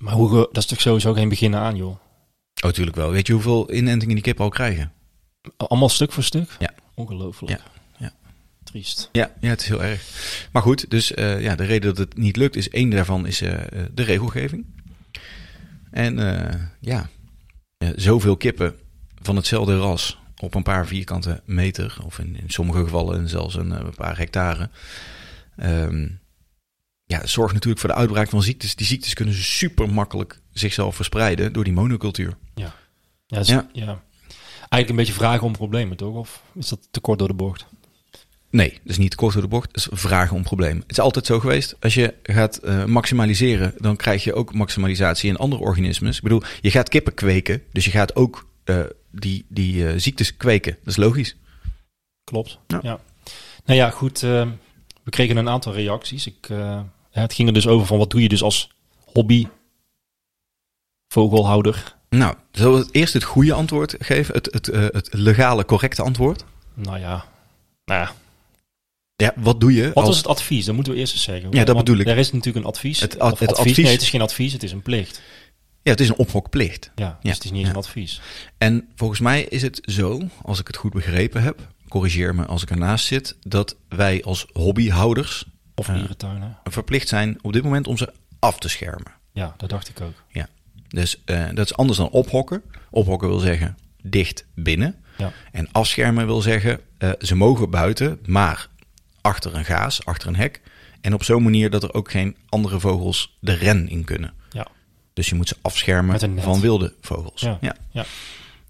B: Maar hoe, ge- dat is toch sowieso geen begin aan, joh.
A: Oh, natuurlijk wel. Weet je hoeveel inentingen die kippen al krijgen?
B: Allemaal stuk voor stuk?
A: Ja.
B: Ongelooflijk.
A: Ja, ja.
B: Triest.
A: Ja, ja, het is heel erg. Maar goed, dus eh, ja, de reden dat het niet lukt is één daarvan is eh, eh, de regelgeving. En eh, ja, eh, zoveel kippen van hetzelfde ras op een paar vierkante meter, of in, in sommige gevallen zelfs een, eh, een paar hectare, ehm, ja, zorgt natuurlijk voor de uitbraak van ziektes. Die ziektes kunnen super makkelijk zichzelf verspreiden door die monocultuur.
B: Ja, dat is-
A: Ja.
B: ja. Eigenlijk een beetje vragen om problemen, toch? Of is dat te kort door de bocht?
A: Nee, dus niet kort door de bocht. Het is vragen om problemen. Het is altijd zo geweest. Als je gaat eh, maximaliseren, dan krijg je ook maximalisatie in andere organismes. Ik bedoel, je gaat kippen kweken, dus je gaat ook eh, die, die eh, ziektes kweken. Dat is logisch.
B: Klopt.
A: Ja.
B: Ja. Nou ja, goed. eh, we kregen een aantal reacties. Ik, eh, het ging er dus over van wat doe je dus als hobby vogelhouder?
A: Nou, zullen we het eerst het goede antwoord geven? Het, het, eh, het legale, correcte antwoord?
B: Nou ja. Nou ja.
A: Ja, wat doe je?
B: Wat
A: als...
B: was het advies? Dat moeten we eerst eens zeggen.
A: Ja, dat
B: Want
A: bedoel ik.
B: Er is natuurlijk een advies.
A: Het ad-
B: Of
A: het
B: advies.
A: advies-
B: Nee, het is geen advies. Het is een plicht.
A: Ja, het is een ophokplicht.
B: Ja,
A: Ja,
B: dus het is niet eens
A: ja.
B: een advies.
A: En volgens mij is het zo, als ik het goed begrepen heb, corrigeer me als ik ernaast zit, dat wij als hobbyhouders
B: Of
A: Ja.
B: dierentuinen.
A: verplicht zijn op dit moment om ze af te schermen.
B: Ja, dat dacht ik ook.
A: Ja. Dus eh, dat is anders dan ophokken. Ophokken wil zeggen dicht binnen.
B: Ja.
A: En afschermen wil zeggen eh, ze mogen buiten, maar achter een gaas, achter een hek. En op zo'n manier dat er ook geen andere vogels de ren in kunnen.
B: Ja.
A: Dus je moet ze
B: Met een
A: afschermen
B: net.
A: van wilde vogels.
B: Ja.
A: Ja.
B: Ja.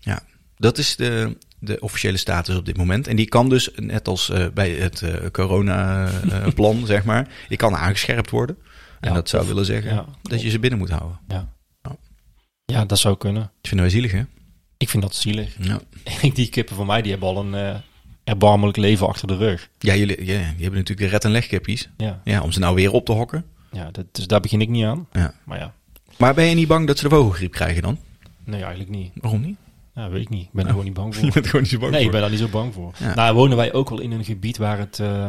A: Ja, dat is de, de officiële status op dit moment. En die kan dus, net als eh, bij het corona-plan, zeg maar, die kan aangescherpt worden. En
B: Ja,
A: dat zou
B: of-
A: willen zeggen
B: ja,
A: dat je ze binnen moet houden.
B: Ja.
A: Ja.
B: ja, dat zou kunnen.
A: Dat vinden wij zielig, hè?
B: Ik vind dat zielig.
A: Ja,
B: die kippen van mij, die hebben al een eh, erbarmelijk leven achter de rug.
A: ja jullie ja, die hebben natuurlijk de red- en legkippies.
B: Ja,
A: Ja, om ze nou weer op te hokken.
B: ja dat, dus daar begin ik niet aan.
A: Ja.
B: Maar ja,
A: Maar ben je niet bang dat ze de vogelgriep krijgen dan?
B: nee, eigenlijk niet.
A: Waarom niet?
B: Ja, weet ik niet. Ik ben er gewoon niet bang
A: Je
B: voor.
A: bent gewoon niet zo bang
B: Nee, ik
A: voor.
B: ben daar niet zo bang voor.
A: Ja.
B: Nou, wonen wij ook wel in een gebied waar het... eh,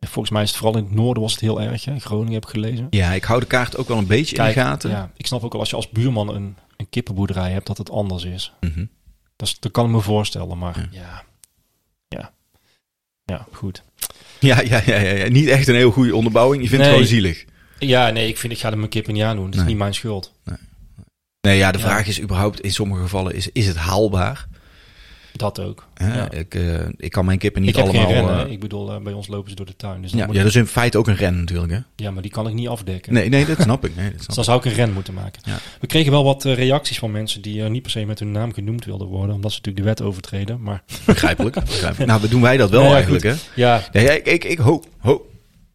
B: volgens mij is het vooral in het noorden was het heel erg. Hè? Groningen heb ik gelezen.
A: Ja, ik hou de kaart ook wel een beetje in de gaten.
B: ja, ik snap ook wel als je als buurman een, een kippenboerderij hebt, dat het anders is.
A: Mhm.
B: Dat, is- dat kan ik me voorstellen, maar
A: Ja.
B: ja. ja. Ja, goed.
A: ja, ja, ja, ja, ja. Niet echt een heel goede onderbouwing. Je vindt
B: Nee.
A: het gewoon zielig.
B: Ja, nee, ik vind ik ga er mijn kip niet aan doen. Dat is
A: Nee.
B: niet mijn schuld.
A: Nee, ja, de
B: Ja.
A: vraag is überhaupt in sommige gevallen, is, is het haalbaar?
B: Dat ook.
A: Hè,
B: Ja.
A: Ik, eh, ik kan mijn kippen niet
B: ik heb
A: allemaal...
B: geen rennen.
A: eh,
B: hè. ik bedoel, eh, bij ons lopen ze door de tuin. Dus dan
A: ja,
B: moet
A: ja,
B: ik-
A: dat is in feite ook een ren natuurlijk, hè?
B: ja, maar die kan ik niet afdekken.
A: Nee, nee, dat snap ik. Nee, dat
B: Dus
A: snap
B: dan zou ik een ren moeten maken.
A: Ja.
B: We kregen wel wat eh, reacties van mensen die eh, niet per se met hun naam genoemd wilden worden. Omdat ze natuurlijk de wet overtreden. Maar
A: ik. Begrijpelijk. begrijpelijk. Nou, doen wij dat wel
B: Nee, ja,
A: eigenlijk, hè?
B: ja,
A: Nee, ik, ik, ik, ho, ho.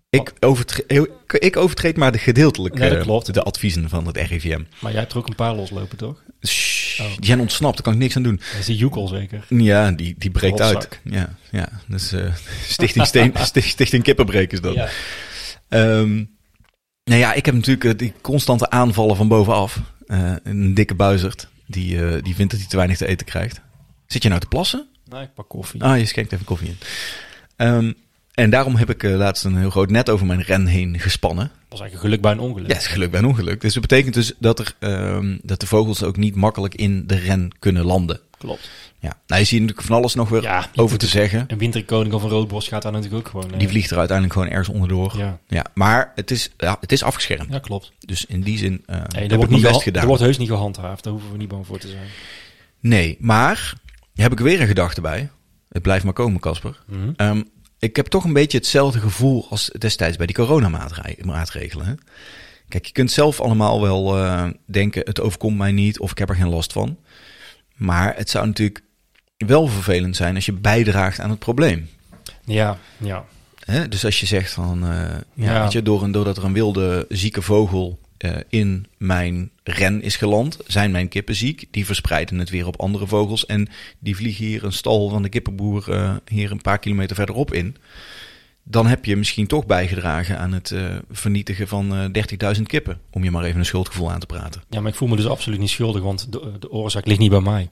A: Ik overtreed, ik overtreed maar de gedeeltelijke
B: Nee, dat klopt.
A: de adviezen van het RIVM.
B: maar jij hebt er ook een paar loslopen, toch?
A: Shh, Die zijn ontsnapt, daar kan ik niks aan doen.
B: Dat is die joekel zeker.
A: Ja, die, die breekt
B: Rotzak.
A: uit. Ja, ja. Dus, eh, Stichting, Steen, Sticht- Stichting Kippenbreek is dat.
B: Ja.
A: Ehm, nou ja, ik heb natuurlijk eh, die constante aanvallen van bovenaf. Eh, een dikke buizerd, die, eh, die vindt dat hij te weinig te eten krijgt. Zit je nou te plassen?
B: Nou, ik pak koffie.
A: Ah, je schenkt even koffie in. Ehm, en daarom heb ik eh, laatst een heel groot net over mijn ren heen gespannen.
B: was eigenlijk geluk bij een ongeluk.
A: Ja, het is geluk bij een ongeluk. Dus dat betekent dus dat, er, ehm, dat de vogels ook niet makkelijk in de ren kunnen landen.
B: Klopt.
A: Ja. Nou, je ziet natuurlijk van alles nog weer
B: Ja, je
A: over te zeggen.
B: Een winterkoning of een roodborst gaat daar natuurlijk ook gewoon... eh,
A: Die vliegt er uiteindelijk gewoon ergens onderdoor. Ja.
B: Ja.
A: maar het is, ja, het is afgeschermd.
B: ja, klopt.
A: Dus in die zin eh
B: Hey,
A: heb
B: dat
A: ik
B: wordt,
A: mijn
B: niet
A: best
B: gehan-
A: gedaan.
B: dat wordt heus niet gehandhaafd. Daar hoeven we niet bang voor te zijn.
A: Nee, maar heb ik weer een gedachte bij. Het blijft maar komen, Casper.
B: Mhm.
A: Ehm, ik heb toch een beetje hetzelfde gevoel als destijds bij die coronamaatregelen. Hè? Kijk, je kunt zelf allemaal wel eh, denken, het overkomt mij niet of ik heb er geen last van. Maar het zou natuurlijk wel vervelend zijn als je bijdraagt aan het probleem.
B: Ja, ja.
A: Hè? Dus als je zegt van, eh, ja,
B: Ja.
A: Weet je, door een, doordat er een wilde zieke vogel eh, in mijn ren is geland, zijn mijn kippen ziek. Die verspreiden het weer op andere vogels en die vliegen hier een stal van de kippenboer eh, hier een paar kilometer verderop in. Dan heb je misschien toch bijgedragen aan het eh, vernietigen van eh 30.000 kippen. Om je maar even een schuldgevoel aan te praten.
B: Ja, maar ik voel me dus absoluut niet schuldig, want de, de oorzaak ligt niet bij mij.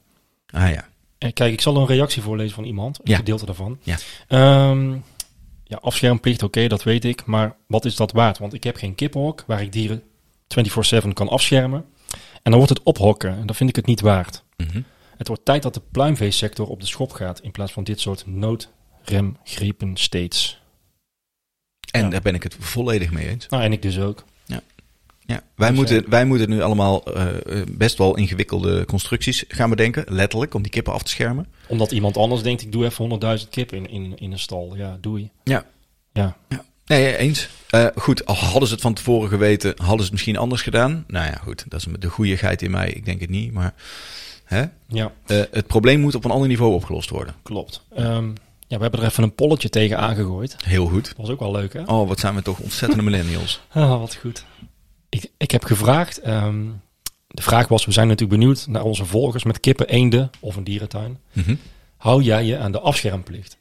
A: Ah ja,
B: Eh, Kijk, ik zal een reactie voorlezen van iemand, een
A: Ja.
B: gedeelte daarvan.
A: Ja.
B: Ehm, ja, afschermplicht, oké, dat weet ik. Maar wat is dat waard? Want ik heb geen kippenhok waar ik dieren 24-7 kan afschermen. En dan wordt het ophokken en dat vind ik het niet waard.
A: Mhm.
B: Het wordt tijd dat de pluimveesector op de schop gaat in plaats van dit soort noodremgrepen steeds.
A: en
B: Ja.
A: daar ben ik het volledig mee eens.
B: Nou, en ik dus ook.
A: Ja, wij,
B: Dus,
A: moeten, wij moeten nu allemaal eh, eh, best wel ingewikkelde constructies gaan bedenken. Letterlijk, om die kippen af te schermen.
B: Omdat iemand anders denkt, ik doe even 100.000 kippen in, in, in een stal. Ja, doei.
A: Ja.
B: Ja,
A: Nee, eens. Eh, goed, al hadden ze het van tevoren geweten, hadden ze het misschien anders gedaan. Nou ja, goed, dat is de goeieheid in mij. Ik denk het niet, maar hè?
B: ja.
A: Eh, het probleem moet op een ander niveau opgelost worden.
B: Klopt. Ehm, ja, we hebben er even een polletje tegen aangegooid.
A: Heel goed.
B: Dat was ook wel leuk, hè?
A: Oh, wat zijn we toch ontzettende millennials.
B: Ah, wat goed. Ik, ik heb gevraagd. ehm, de vraag was: we zijn natuurlijk benieuwd naar onze volgers met kippen, eenden of een dierentuin.
A: Mhm.
B: Hou jij je aan de afschermplicht?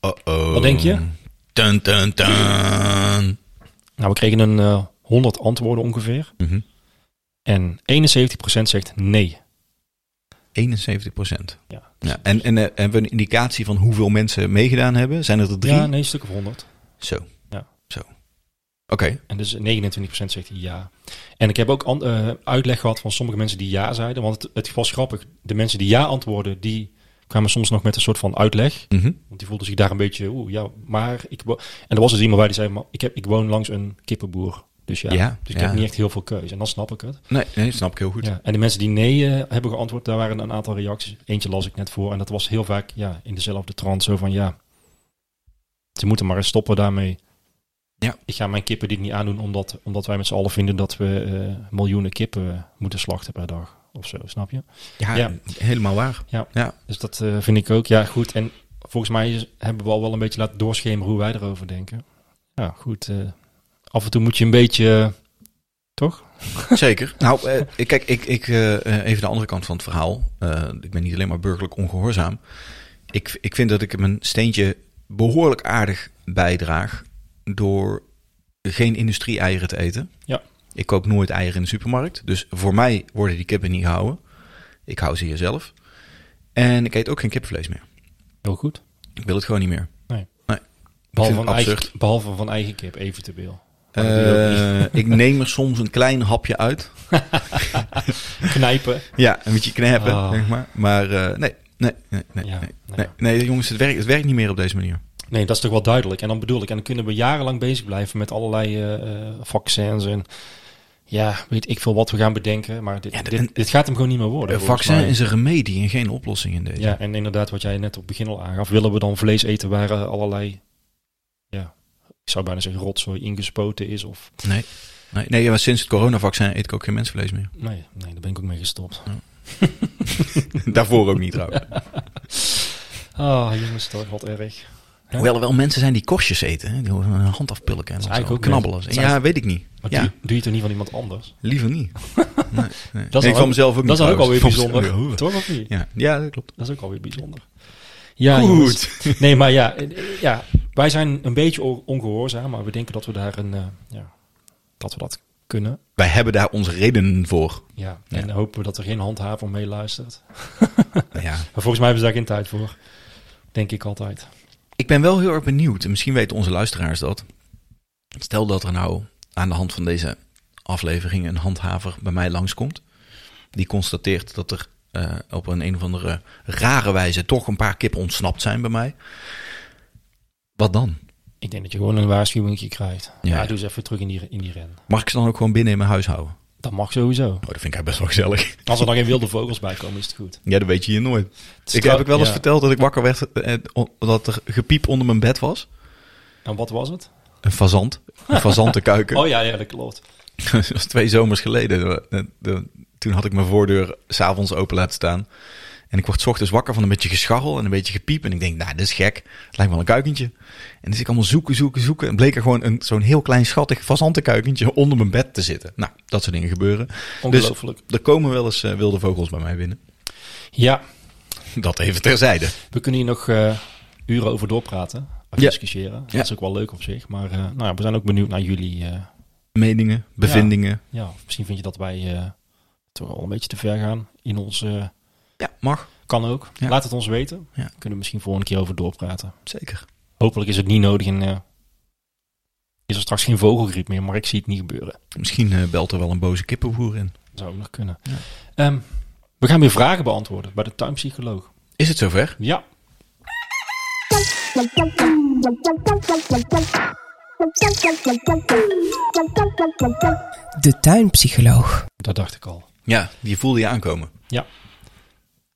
A: Uh-oh.
B: Wat denk je?
A: Dun, dun, dun.
B: Nou, we kregen een eh 100 antwoorden ongeveer.
A: Mhm.
B: En 71% zegt nee.
A: 71 procent.
B: Ja,
A: Ja, en, en eh, hebben we een indicatie van hoeveel mensen meegedaan hebben? Zijn het er drie?
B: ja nee, een stuk of 100.
A: Zo.
B: Ja.
A: Zo. Oké.
B: En dus 29% zegt ja. En ik heb ook an- eh, uitleg gehad van sommige mensen die ja zeiden. Want het, het was grappig. De mensen die ja antwoorden, die kwamen soms nog met een soort van uitleg.
A: Mhm.
B: Want die voelde zich daar een beetje, oeh, ja, maar ik... wo- En er was dus iemand waar die zei, maar ik, heb, ik woon langs een kippenboer. Dus ja,
A: Ja,
B: dus ik
A: ja.
B: heb niet echt heel veel keuze. En dan snap ik het.
A: Nee, nee, snap ik heel goed.
B: Ja. En de mensen die nee eh, hebben geantwoord, daar waren een aantal reacties. Eentje las ik net voor en dat was heel vaak ja, in dezelfde trant. Zo van, ja, ze moeten maar eens stoppen daarmee.
A: Ja.
B: Ik ga mijn kippen dit niet aandoen, omdat, omdat wij met z'n allen vinden dat we eh, miljoenen kippen moeten slachten per dag. Of zo, snap je?
A: Ja,
B: Ja.
A: helemaal waar.
B: Dus dat eh, vind ik ook, ja, goed. En volgens mij is- hebben we al wel een beetje laten doorschemeren hoe wij erover denken. Ja, goed. eh, af en toe moet je een beetje, eh, toch?
A: Zeker. Nou, eh, ik- kijk, ik, ik, eh, eh, even de andere kant van het verhaal. Eh, ik ben niet alleen maar burgerlijk ongehoorzaam. Ik, ik vind dat ik mijn steentje behoorlijk aardig bijdraag door geen industrie-eieren te eten.
B: Ja.
A: Ik koop nooit eieren in de supermarkt. Dus voor mij worden die kippen niet gehouden. Ik hou ze hier zelf. En ik eet ook geen kipvlees meer.
B: Heel goed.
A: Ik wil het gewoon niet meer.
B: Behalve
A: het
B: van, eigen,
A: absurd.
B: behalve van eigen kip, eventueel. Maar dat doe je
A: Eh, ik neem er soms een klein hapje uit.
B: ook niet. Knijpen.
A: Ja, een beetje knappen,
B: Ah.
A: zeg maar. Maar eh, nee, nee, nee, nee,
B: Ja,
A: nee,
B: nou
A: nee,
B: ja.
A: nee, jongens, het werkt, het werkt niet meer op deze manier.
B: Nee, dat is toch wel duidelijk. En dan bedoel ik, en dan kunnen we jarenlang bezig blijven met allerlei eh, eh, vaccins en... Ja, weet ik veel wat we gaan bedenken, maar dit,
A: Ja, de- en-
B: dit, dit gaat hem gewoon niet meer worden.
A: Een
B: volgens
A: Eh, vaccin
B: mij.
A: is een remedie en geen oplossing in deze.
B: Ja, en inderdaad, wat jij net op het begin al aangaf, willen we dan vlees eten waar eh, allerlei, ja, ik zou bijna zeggen rotzooi ingespoten is of...
A: Nee, nee, nee, ja, maar sinds het coronavaccin eet ik ook geen mensvlees meer.
B: Nee, nee, daar ben ik ook mee gestopt.
A: Daarvoor ook niet trouwens.
B: Ah, jongens, toch, wat erg.
A: Hoewel er wel mensen zijn die korstjes eten. Hè? Die hun hand afpulken en dan
B: is
A: zo
B: eigenlijk ook
A: knabbelen.
B: net-
A: Ja, weet ik niet.
B: Maar
A: Ja,
B: doe, doe je het er niet van iemand anders?
A: liever niet. Nee, nee.
B: dan
A: En ik
B: ook-
A: van mezelf ook niet.
B: Dat is dan ook
A: trouwens.
B: alweer
A: Van mezelf-
B: bijzonder. Toch of niet?
A: Ja, ja, dat klopt.
B: Dat is ook alweer bijzonder. Ja,
A: Goed.
B: jongens. Nee, maar ja, eh, ja, wij zijn een beetje on- ongehoorzaam, maar we denken dat we daar een, eh, ja, dat we dat kunnen.
A: Wij hebben daar onze redenen voor.
B: Ja, en
A: Ja.
B: dan hopen we dat er geen handhaver mee luistert.
A: Ja.
B: Maar volgens mij hebben ze daar geen tijd voor. Denk ik altijd.
A: Ik ben wel heel erg benieuwd, en misschien weten onze luisteraars dat. Stel dat er nou aan de hand van deze aflevering een handhaver bij mij langskomt. Die constateert dat er eh, op een, een of andere rare wijze toch een paar kippen ontsnapt zijn bij mij. Wat dan?
B: Ik denk dat je gewoon een waarschuwing krijgt. Ja,
A: Ja.
B: doe eens even terug in die, in die ren.
A: Mag ik ze dan ook gewoon binnen in mijn huis houden?
B: Dat mag sowieso.
A: Oh, dat vind ik eigenlijk best wel gezellig.
B: Als er dan geen wilde vogels bij komen, is het goed.
A: Ja, dat weet je hier nooit.
B: Het is
A: Ik
B: trouw-
A: heb ik wel eens
B: ja.
A: verteld dat ik wakker werd eh, o- dat er gepiep onder mijn bed was.
B: En wat was het?
A: Een fazant. Een fazantenkuiken.
B: Oh ja, ja, dat klopt.
A: Dat was twee zomers geleden. Eh, eh, Toen had ik mijn voordeur s'avonds open laten staan. En ik word 's ochtends wakker van een beetje gescharrel en een beetje gepiep. En ik denk, nou, dit is gek. Het lijkt wel een kuikentje. En dus ik allemaal zoeken, zoeken, zoeken. En bleek er gewoon een- zo'n heel klein schattig fazantenkuikentje onder mijn bed te zitten. Nou, dat soort dingen gebeuren.
B: Ongelooflijk.
A: Dus er komen wel eens eh, wilde vogels bij mij binnen.
B: Ja,
A: Dat even terzijde.
B: we kunnen hier nog eh, uren over doorpraten. Of
A: Ja.
B: discussiëren. Dat
A: Ja.
B: is ook wel leuk op zich. Maar eh, nou ja, we zijn ook benieuwd naar jullie. eh,
A: Meningen, bevindingen.
B: ja, of misschien vind je dat wij eh, toch al een beetje te ver gaan in onze... eh,
A: Ja, mag.
B: kan ook.
A: Ja.
B: Laat het ons weten.
A: Ja.
B: Kunnen we misschien volgende keer over doorpraten.
A: Zeker.
B: Hopelijk is het niet nodig en eh, is er straks geen vogelgriep meer, maar ik zie het niet gebeuren.
A: Misschien eh, belt er wel een boze kippenboer in.
B: Dat zou ook nog kunnen.
A: Ja.
B: Ehm, we gaan weer vragen beantwoorden bij de tuinpsycholoog.
A: Is het zover?
B: Ja,
C: De tuinpsycholoog.
B: dat dacht ik al.
A: Ja, die voelde je aankomen.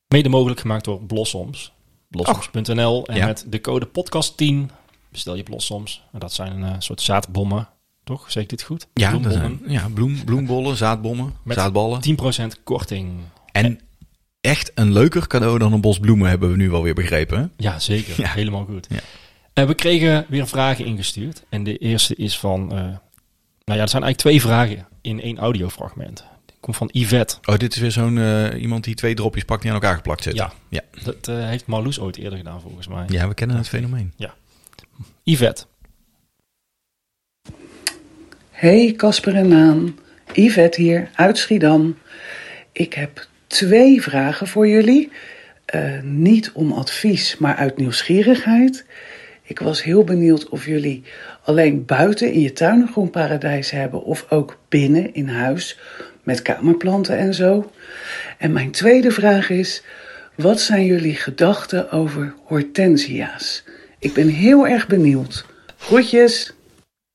B: Mede mogelijk gemaakt door Blossoms. Blossoms.nl en
A: Ja.
B: met de code podcast10 bestel je Blossoms. En dat zijn een eh, soort zaadbommen, toch? Zeg ik dit goed?
A: Ja, dat
B: Bloembommen.
A: zijn- ja bloem, bloembollen, zaadbommen,
B: Met
A: zaadballen.
B: 10% korting.
A: En echt een leuker cadeau dan een bos bloemen hebben we nu wel weer begrepen. hè?
B: Ja, zeker.
A: Ja.
B: Helemaal goed.
A: Ja.
B: Eh, we kregen weer vragen ingestuurd. En de eerste is van... eh, nou ja, er zijn eigenlijk twee vragen in één audiofragment. Die komt van Yvette.
A: Oh, dit is weer zo'n eh, iemand die twee dropjes pakt die aan elkaar geplakt zitten.
B: Ja,
A: Ja.
B: dat eh, heeft Marloes ooit eerder gedaan volgens mij.
A: Ja, we kennen het fenomeen.
B: Yvette,
E: Hey Casper en Naan, Yvette hier uit Schiedam. Ik heb twee vragen voor jullie. Eh, niet om advies, maar uit nieuwsgierigheid. Ik was heel benieuwd of jullie alleen buiten in je tuin een groenparadijs hebben of ook binnen in huis met kamerplanten en zo. En mijn tweede vraag is: wat zijn jullie gedachten over hortensia's? Ik ben heel erg benieuwd. Groetjes!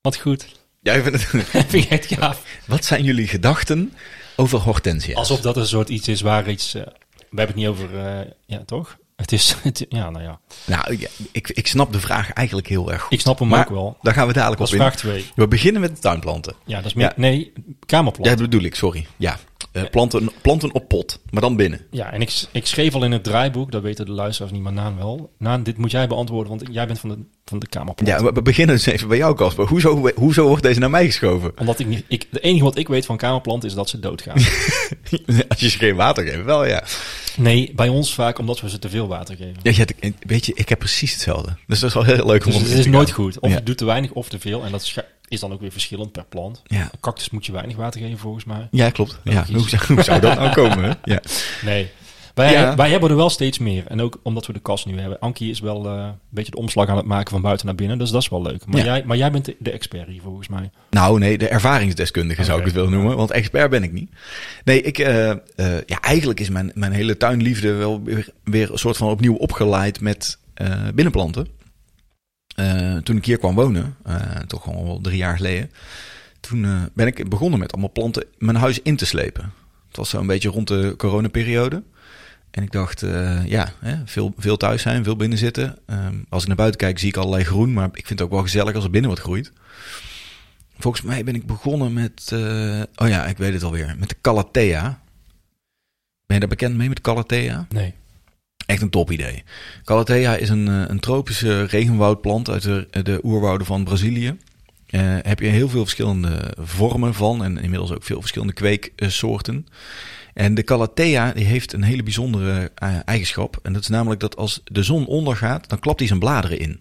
B: wat goed.
A: Jij vindt het-
B: Vind ik echt gaaf.
A: Wat zijn jullie gedachten over hortensia?
B: Alsof dat een soort iets is waar iets... eh, we hebben het niet over... eh, ja, toch? Het is... Het, ja, nou ja.
A: Nou, ja, ik, ik snap de vraag eigenlijk heel erg goed.
B: Ik snap hem
A: Maar
B: ook wel.
A: Daar gaan we dadelijk
B: Dat
A: op
B: is
A: in.
B: vraag twee.
A: We beginnen met de tuinplanten.
B: Ja, dat is meer...
A: Ja.
B: Nee, kamerplan.
A: Ja, dat bedoel ik, sorry. Ja, Eh, planten, planten op pot, maar dan binnen.
B: Ja, en ik, ik schreef al in het draaiboek, dat weten de luisteraars niet, maar Naan wel. Naan, dit moet jij beantwoorden, want jij bent van de, van de Kamerplan.
A: Ja, we we beginnen dus even bij jou, Casper. Hoezo, hoezo wordt deze naar mij geschoven?
B: Omdat ik niet, ik, de enige wat ik weet van kamerplanten is dat ze doodgaan.
A: Als je ze geen water geeft, wel ja.
B: nee, bij ons vaak omdat we ze te veel water geven.
A: Ja, ja, ik- weet je, ik heb precies hetzelfde. Dus dat is wel heel leuk om
B: Dus
A: op
B: het
A: in
B: is
A: te
B: nooit
A: gaan.
B: goed. Of
A: Ja.
B: je doet te weinig of te veel. En dat scha- is dan ook weer verschillend per plant.
A: Ja.
B: Een cactus moet je weinig water geven volgens mij.
A: Ja, klopt. Ja,
B: Logisch.
A: hoe, zou, hoe zou dat nou komen? hè? Ja.
B: Nee. Wij,
A: Ja.
B: wij hebben er wel steeds meer. En ook omdat we de kast nu hebben. Ankie is wel eh, een beetje de omslag aan het maken van buiten naar binnen. Dus dat is wel leuk. Maar,
A: Ja.
B: jij, maar jij bent de, de expert hier volgens mij.
A: Nou, nee, de ervaringsdeskundige zou ik
B: Oké.
A: het willen noemen, want expert ben ik niet. Nee, ik, eh, eh, ja, eigenlijk is mijn, mijn hele tuinliefde wel weer, weer een soort van opnieuw opgeleid met eh, binnenplanten. Eh, toen ik hier kwam wonen, eh, toch al wel drie jaar geleden, toen eh, ben ik begonnen met allemaal planten mijn huis in te slepen. Het was zo'n beetje rond de coronaperiode. En ik dacht, eh, ja, hè, veel, veel thuis zijn, veel binnen zitten. Ehm, als ik naar buiten kijk, zie ik allerlei groen. Maar ik vind het ook wel gezellig als er binnen wat groeit. Volgens mij ben ik begonnen met... eh, oh ja, ik weet het alweer. Met de Calathea. Ben je daar bekend mee met Calathea?
B: Nee.
A: Echt een top idee. Calathea is een, eh, een tropische regenwoudplant uit de, de oerwouden van Brazilië. Eh, heb je heel veel verschillende vormen van en inmiddels ook veel verschillende kweeksoorten. En de Calathea die heeft een hele bijzondere eh, eigenschap. En dat is namelijk dat als de zon ondergaat, dan klapt hij zijn bladeren in.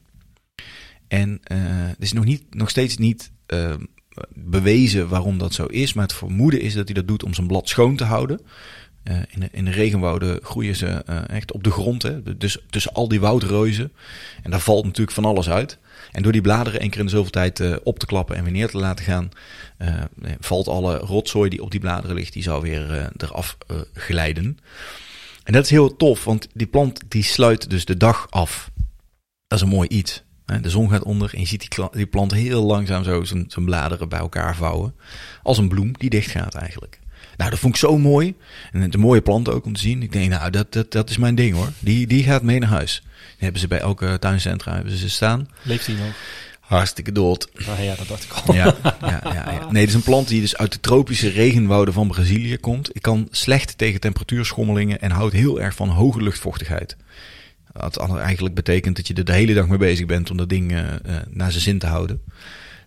A: En eh, het is nog, niet, nog steeds niet eh, bewezen waarom dat zo is. Maar het vermoeden is dat hij dat doet om zijn blad schoon te houden. Eh, in, de, in de regenwouden groeien ze eh, echt op de grond. Hè? Dus tussen al die woudreuzen. En daar valt natuurlijk van alles uit. En door die bladeren één keer in de zoveel tijd eh, op te klappen en weer neer te laten gaan, eh, valt alle rotzooi die op die bladeren ligt, die zou weer eh, eraf eh, glijden. En dat is heel tof, want die plant die sluit dus de dag af. Dat is een mooi iets. hè. De zon gaat onder en je ziet die, kla- die plant heel langzaam zo zijn, zijn bladeren bij elkaar vouwen. Als een bloem die dicht gaat eigenlijk. Nou, dat vond ik zo mooi. En het is een mooie plant ook om te zien. Ik denk, nou, dat, dat, dat is mijn ding hoor. Die, die gaat mee naar huis. Die hebben ze bij elke tuincentra hebben ze ze staan.
B: Leeft hij nog?
A: Hartstikke dood.
B: Ah, ja, dat dacht ik al.
A: Ja, ja, ja, ja. Nee, het is een plant die dus uit de tropische regenwouden van Brazilië komt. Ik kan slecht tegen temperatuurschommelingen en houdt heel erg van hoge luchtvochtigheid. Wat al- eigenlijk betekent dat je er de hele dag mee bezig bent om dat ding eh, eh, naar zijn zin te houden.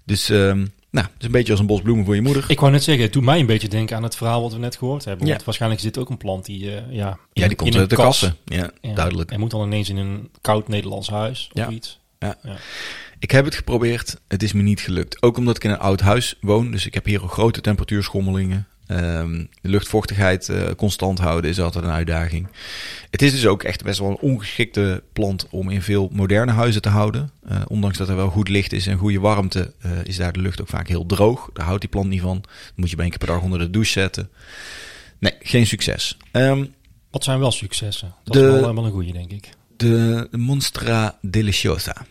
A: Dus ehm, nou, het is een beetje als een bos bloemen voor je moeder.
B: Ik wou net zeggen, het doet mij een beetje denken aan het verhaal wat we net gehoord hebben.
A: Ja.
B: Want waarschijnlijk zit ook een plant die, eh, ja, in-
A: ja, die
B: in
A: komt
B: een
A: uit de
B: kas.
A: kassen. Ja,
B: Ja,
A: duidelijk.
B: En moet dan ineens in een koud Nederlands huis of
A: Ja.
B: iets.
A: Ik heb het geprobeerd, het is me niet gelukt. Ook omdat ik in een oud huis woon, dus ik heb hier ook grote temperatuurschommelingen. Ehm, de luchtvochtigheid eh, constant houden is altijd een uitdaging. Het is dus ook echt best wel een ongeschikte plant om in veel moderne huizen te houden. Eh, ondanks dat er wel goed licht is en goede warmte, eh, is daar de lucht ook vaak heel droog. Daar houdt die plant niet van. Dan moet je bij één keer per dag onder de douche zetten. Nee, geen succes. Ehm,
B: Wat zijn wel successen? Dat
A: De-
B: is wel, eh, wel een goede, denk ik.
A: de Monstra Deliciosa.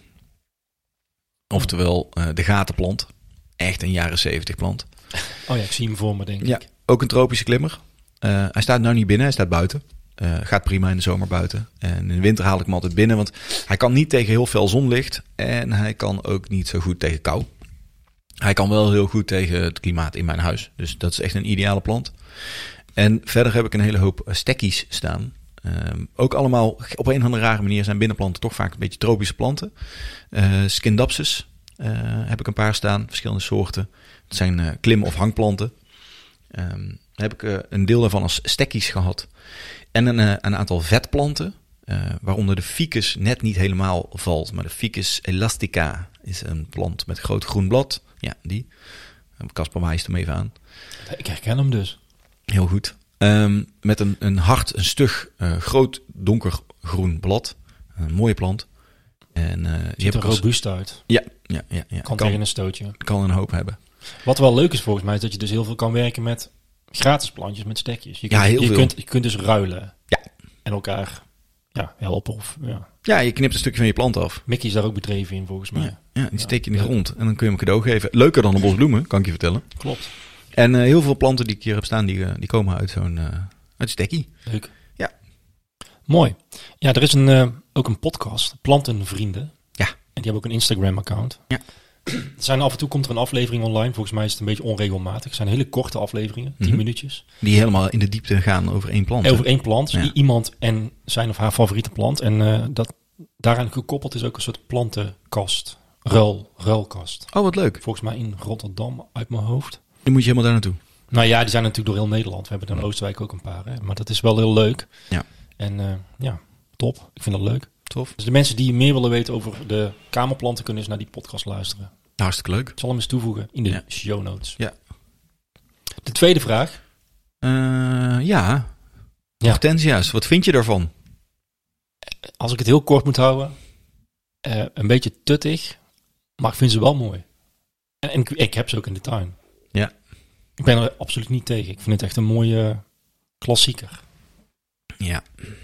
A: Oftewel eh, de gatenplant. Echt een jaren zeventig plant.
B: Oh ja, ik zie hem voor me, denk ik.
A: Ja, ook een tropische klimmer. Eh, hij staat nou niet binnen, hij staat buiten. Eh, gaat prima in de zomer buiten. En in de winter haal ik hem altijd binnen, want hij kan niet tegen heel veel zonlicht. En hij kan ook niet zo goed tegen kou. Hij kan wel heel goed tegen het klimaat in mijn huis. Dus dat is echt een ideale plant. En verder heb ik een hele hoop eh, stekkies staan. Ehm, ook allemaal op een of andere rare manier zijn binnenplanten toch vaak een beetje tropische planten. Eh Skindapsis eh, heb ik een paar staan, verschillende soorten. Het zijn eh, klim- of hangplanten. Ehm, heb ik eh, een deel daarvan als stekkies gehad. En een, eh, een aantal vetplanten, eh, waaronder de ficus net niet helemaal valt. Maar de ficus elastica is een plant met groot groen blad. Ja, die. Kasper wijst hem even aan.
B: Ik herken hem dus.
A: Heel goed. Ehm, met een, een hard, een stug, eh, groot donkergroen blad. Een mooie plant. En, eh, die
B: Ziet
A: heb
B: er
A: ik als-
B: robuust uit.
A: Ja, ja, ja, ja.
B: Kan,
A: Kan-
B: tegen een stootje.
A: kan een hoop hebben.
B: Wat wel leuk is volgens mij, is dat je dus heel veel kan werken met gratis plantjes, met stekjes. Je
A: Ja,
B: kunt,
A: heel
B: je
A: veel.
B: Kunt, je kunt dus ruilen.
A: Ja.
B: En elkaar ja, helpen. Of, ja.
A: Ja, je knipt een stukje van je plant af.
B: Mickey is daar ook bedreven in volgens mij.
A: Ja, ja die steek je in de grond en dan kun je hem cadeau geven. Leuker dan een bos bloemen, kan ik je vertellen.
B: Klopt.
A: En eh, heel veel planten die ik hier heb staan, die, eh, die komen uit zo'n eh uit stekkie.
B: Leuk.
A: Ja.
B: Mooi. Ja, er is een, eh, ook een podcast, Plantenvrienden.
A: Ja.
B: En die hebben ook een Instagram-account.
A: Ja.
B: Er zijn af en toe komt er een aflevering online. Volgens mij is het een beetje onregelmatig. Het zijn hele korte afleveringen, 10
A: Mhm.
B: minuutjes.
A: Die helemaal in de diepte gaan over één plant.
B: Over één plant,
A: Ja.
B: i- iemand en zijn of haar favoriete plant. En eh, dat, daaraan gekoppeld is ook een soort plantenkast, ruil, ruilkast.
A: Oh, wat leuk.
B: Volgens mij in Rotterdam uit mijn hoofd.
A: Dan moet je helemaal daar naartoe.
B: Nou ja, die zijn natuurlijk door heel Nederland. We hebben er in Oostenrijk ook een paar. Hè? Maar dat is wel heel leuk.
A: Ja.
B: En eh, ja, top. Ik vind dat leuk.
A: Tof.
B: Dus de mensen die meer willen weten over de kamerplanten kunnen eens naar die podcast luisteren.
A: Hartstikke leuk.
B: Ik zal hem eens toevoegen in de
A: Ja.
B: show notes.
A: Ja.
B: De tweede vraag.
A: Eh, ja.
B: Ja.
A: Hortensia's, wat vind je daarvan?
B: Als ik het heel kort moet houden, eh, een beetje tuttig, maar ik vind ze wel mooi. En, en ik, ik heb ze ook in de tuin.
A: Ja.
B: Ik ben er absoluut niet tegen. Ik vind het echt een mooie klassieker.
A: Ja.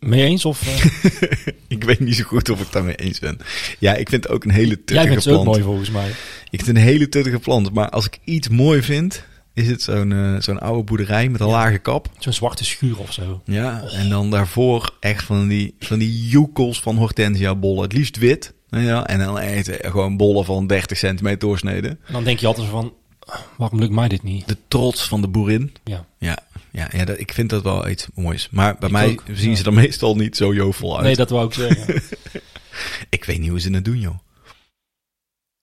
B: Mee eens of... eh,
A: ik weet niet zo goed of ik daarmee eens ben. Ja, ik vind het ook een hele tuttige
B: jij vindt ze ook
A: plant.
B: mooi volgens mij.
A: Ik vind het een hele tuttige plant. Maar als ik iets mooi vind, is het zo'n eh, zo'n oude boerderij met een lage kap.
B: Zo'n zwarte schuur of zo.
A: Ja, en dan daarvoor echt van die, van die joekels van hortensia bollen. Het liefst wit. nou Ja, en dan echt eh, gewoon bollen van 30 centimeter doorsneden.
B: En dan denk je altijd van, waarom lukt mij dit niet?
A: De trots van de boerin.
B: Ja.
A: Ja, Ja, ja dat, ik vind dat wel iets moois. Maar bij mij zien ze er meestal niet zo jovel uit.
B: Nee, dat wou ik zeggen.
A: Ik weet niet hoe ze dat doen, joh.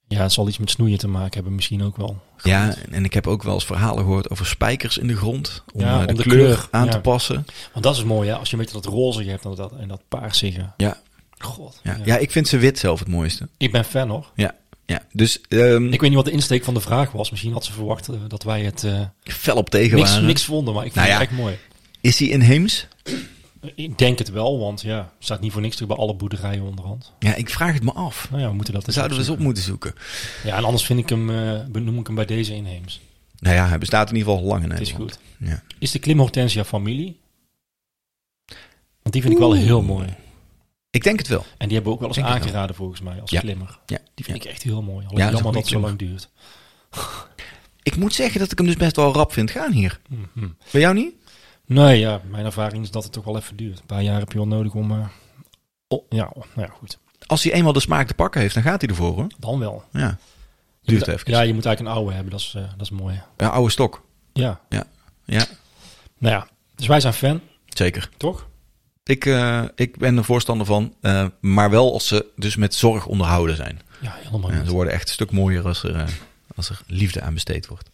B: ja, het zal iets met snoeien te maken hebben misschien ook wel.
A: Ja, en ik heb ook wel eens verhalen gehoord over spijkers in de grond. Om,
B: Ja,
A: eh, de,
B: om de
A: kleur,
B: kleur,
A: aan
B: ja.
A: te passen.
B: Want dat is mooi, hè? Als je een beetje dat rozige hebt en dat, en dat paarsige.
A: Ja.
B: God.
A: Ja. ja, ik vind ze wit zelf het mooiste.
B: Ik ben fan, hoor.
A: Ja, ja. dus ehm
B: Ik weet niet wat de insteek van de vraag was. Misschien had ze verwacht eh, dat wij het eh,
A: fel op tegen
B: niks,
A: waren.
B: niks vonden, maar ik vind
A: Nou
B: het
A: ja.
B: echt mooi.
A: Is hij inheems?
B: Ik denk het wel, want ja, het staat niet voor niks natuurlijk bij alle boerderijen onderhand.
A: Ja, ik vraag het me af.
B: Nou ja, we moeten dat eens
A: Zouden we eens op
B: opzoeken.
A: moeten zoeken.
B: Ja, en anders vind ik hem, eh, benoem ik hem bij deze inheems.
A: Nou ja, hij bestaat in ieder geval lang in
B: Het is
A: Nederland.
B: goed.
A: Ja.
B: Is de klimhortensia familie? Want die vind ik wel heel mooi.
A: Ik denk het wel.
B: En die hebben we ook wel eens
A: Denk ik wel.
B: aangeraden volgens mij als
A: Ja.
B: klimmer.
A: Ja.
B: Die
A: ja.
B: vind ik echt heel mooi.
A: Ja,
B: Alleen
A: dat is een
B: jammer dat
A: goede
B: het zo lang duurt.
A: Ik moet zeggen dat ik hem dus best wel rap vind gaan hier.
B: Mhm.
A: Bij jou niet?
B: Nee, ja, mijn ervaring is dat het toch wel even duurt. Een paar jaar heb je wel nodig om... eh, oh, ja, oh, nou ja, goed.
A: Als hij eenmaal de smaak te pakken heeft, dan gaat hij ervoor hoor.
B: Dan wel.
A: Ja. Duurt even.
B: Ja,
A: Ja,
B: je moet eigenlijk een oude hebben. Dat is, eh, dat is mooi.
A: oude stok.
B: Ja.
A: Ja,
B: Nou ja, dus wij zijn fan,
A: zeker.
B: toch?
A: Ik, eh, ik ben er voorstander van. eh, maar wel als ze dus met zorg onderhouden zijn.
B: Ja, helemaal
A: Ja,
B: goed.
A: ze worden echt een stuk mooier als er, eh, als er liefde aan besteed wordt.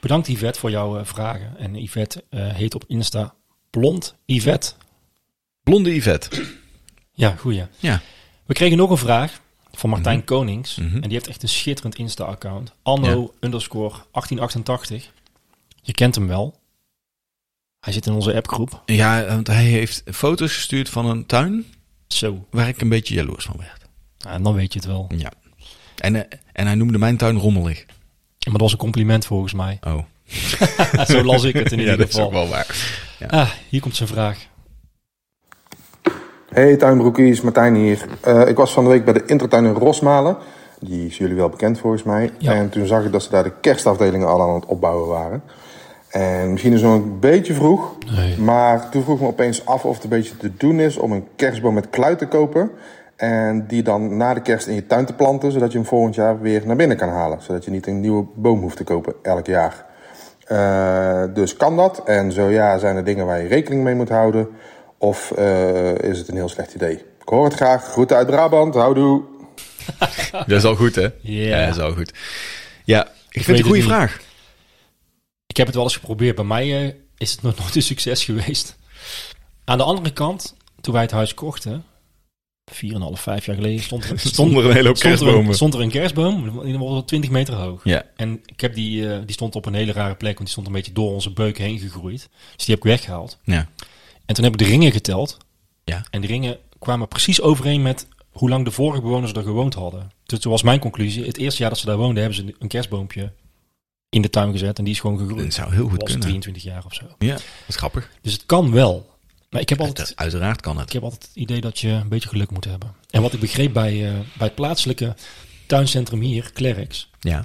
B: Bedankt Yvette voor jouw eh, vragen. En Yvette eh, heet op Insta Blond Yvette.
A: Blonde Yvette.
B: Ja, goeie.
A: Ja.
B: We kregen nog een vraag van Martijn Konings.
A: Mhm.
B: En die heeft echt een schitterend Insta-account. Anno underscore 1888. Je kent hem wel. Hij zit in onze appgroep.
A: Ja, want hij heeft foto's gestuurd van een tuin
B: Zo.
A: waar ik een beetje jaloers van werd.
B: Nou, en dan weet je het wel.
A: Ja. En, eh, en hij noemde mijn tuin rommelig.
B: Maar dat was een compliment volgens mij.
A: Oh.
B: Zo las ik het in ieder geval.
A: wel waar.
B: Ah, hier komt zijn vraag.
F: Hey tuinbroekies, Martijn hier. Eh, ik was van de week bij de Intratuin in Rosmalen. Die is jullie wel bekend volgens mij.
B: Ja.
F: En toen zag ik dat ze daar de kerstafdelingen al aan het opbouwen waren. En misschien is het nog een beetje vroeg.
B: Nee.
F: Maar toen vroeg ik me opeens af of het een beetje te doen is om een kerstboom met kluit te kopen. En die dan na de kerst in je tuin te planten, zodat je hem volgend jaar weer naar binnen kan halen. Zodat je niet een nieuwe boom hoeft te kopen elk jaar. Eh, dus kan dat? En zo ja, zijn er dingen waar je rekening mee moet houden? Of eh, is het een heel slecht idee? Ik hoor het graag. Groeten uit Brabant. Houdoe.
A: Dat is al goed, hè? Ja, dat is al goed. Ja, ik, vind het
B: weet
A: een goede
B: het niet.
A: vraag.
B: Ik heb het wel eens geprobeerd. Bij mij eh, is het nog nooit een succes geweest. Aan de andere kant, toen wij het huis kochten, 4,5, 5 jaar geleden, stond er, stond,
A: een hele hoop
B: stond er, een,
A: kerstbomen.
B: stond er een kerstboom. Die was wel 20 meter hoog.
A: Ja.
B: En ik heb die, eh, die stond op een hele rare plek, want die stond een beetje door onze beuk heen gegroeid. Dus die heb ik weggehaald.
A: Ja.
B: En toen heb ik de ringen geteld.
A: Ja.
B: En de ringen kwamen precies overeen met hoe lang de vorige bewoners er gewoond hadden. Dus toen was mijn conclusie, het eerste jaar dat ze daar woonden, hebben ze een kerstboompje in de tuin gezet. En die is gewoon gegroeid.
A: Dat zou heel goed
B: was
A: kunnen.
B: 23 jaar of zo.
A: Ja, dat is grappig.
B: Dus het kan wel. Maar ik heb altijd,
A: Uiteraard- Uiteraard kan
B: ik
A: het.
B: heb altijd het idee dat je een beetje geluk moet hebben. En wat ik begreep bij, eh, bij het plaatselijke tuincentrum hier, Klerks.
A: Ja.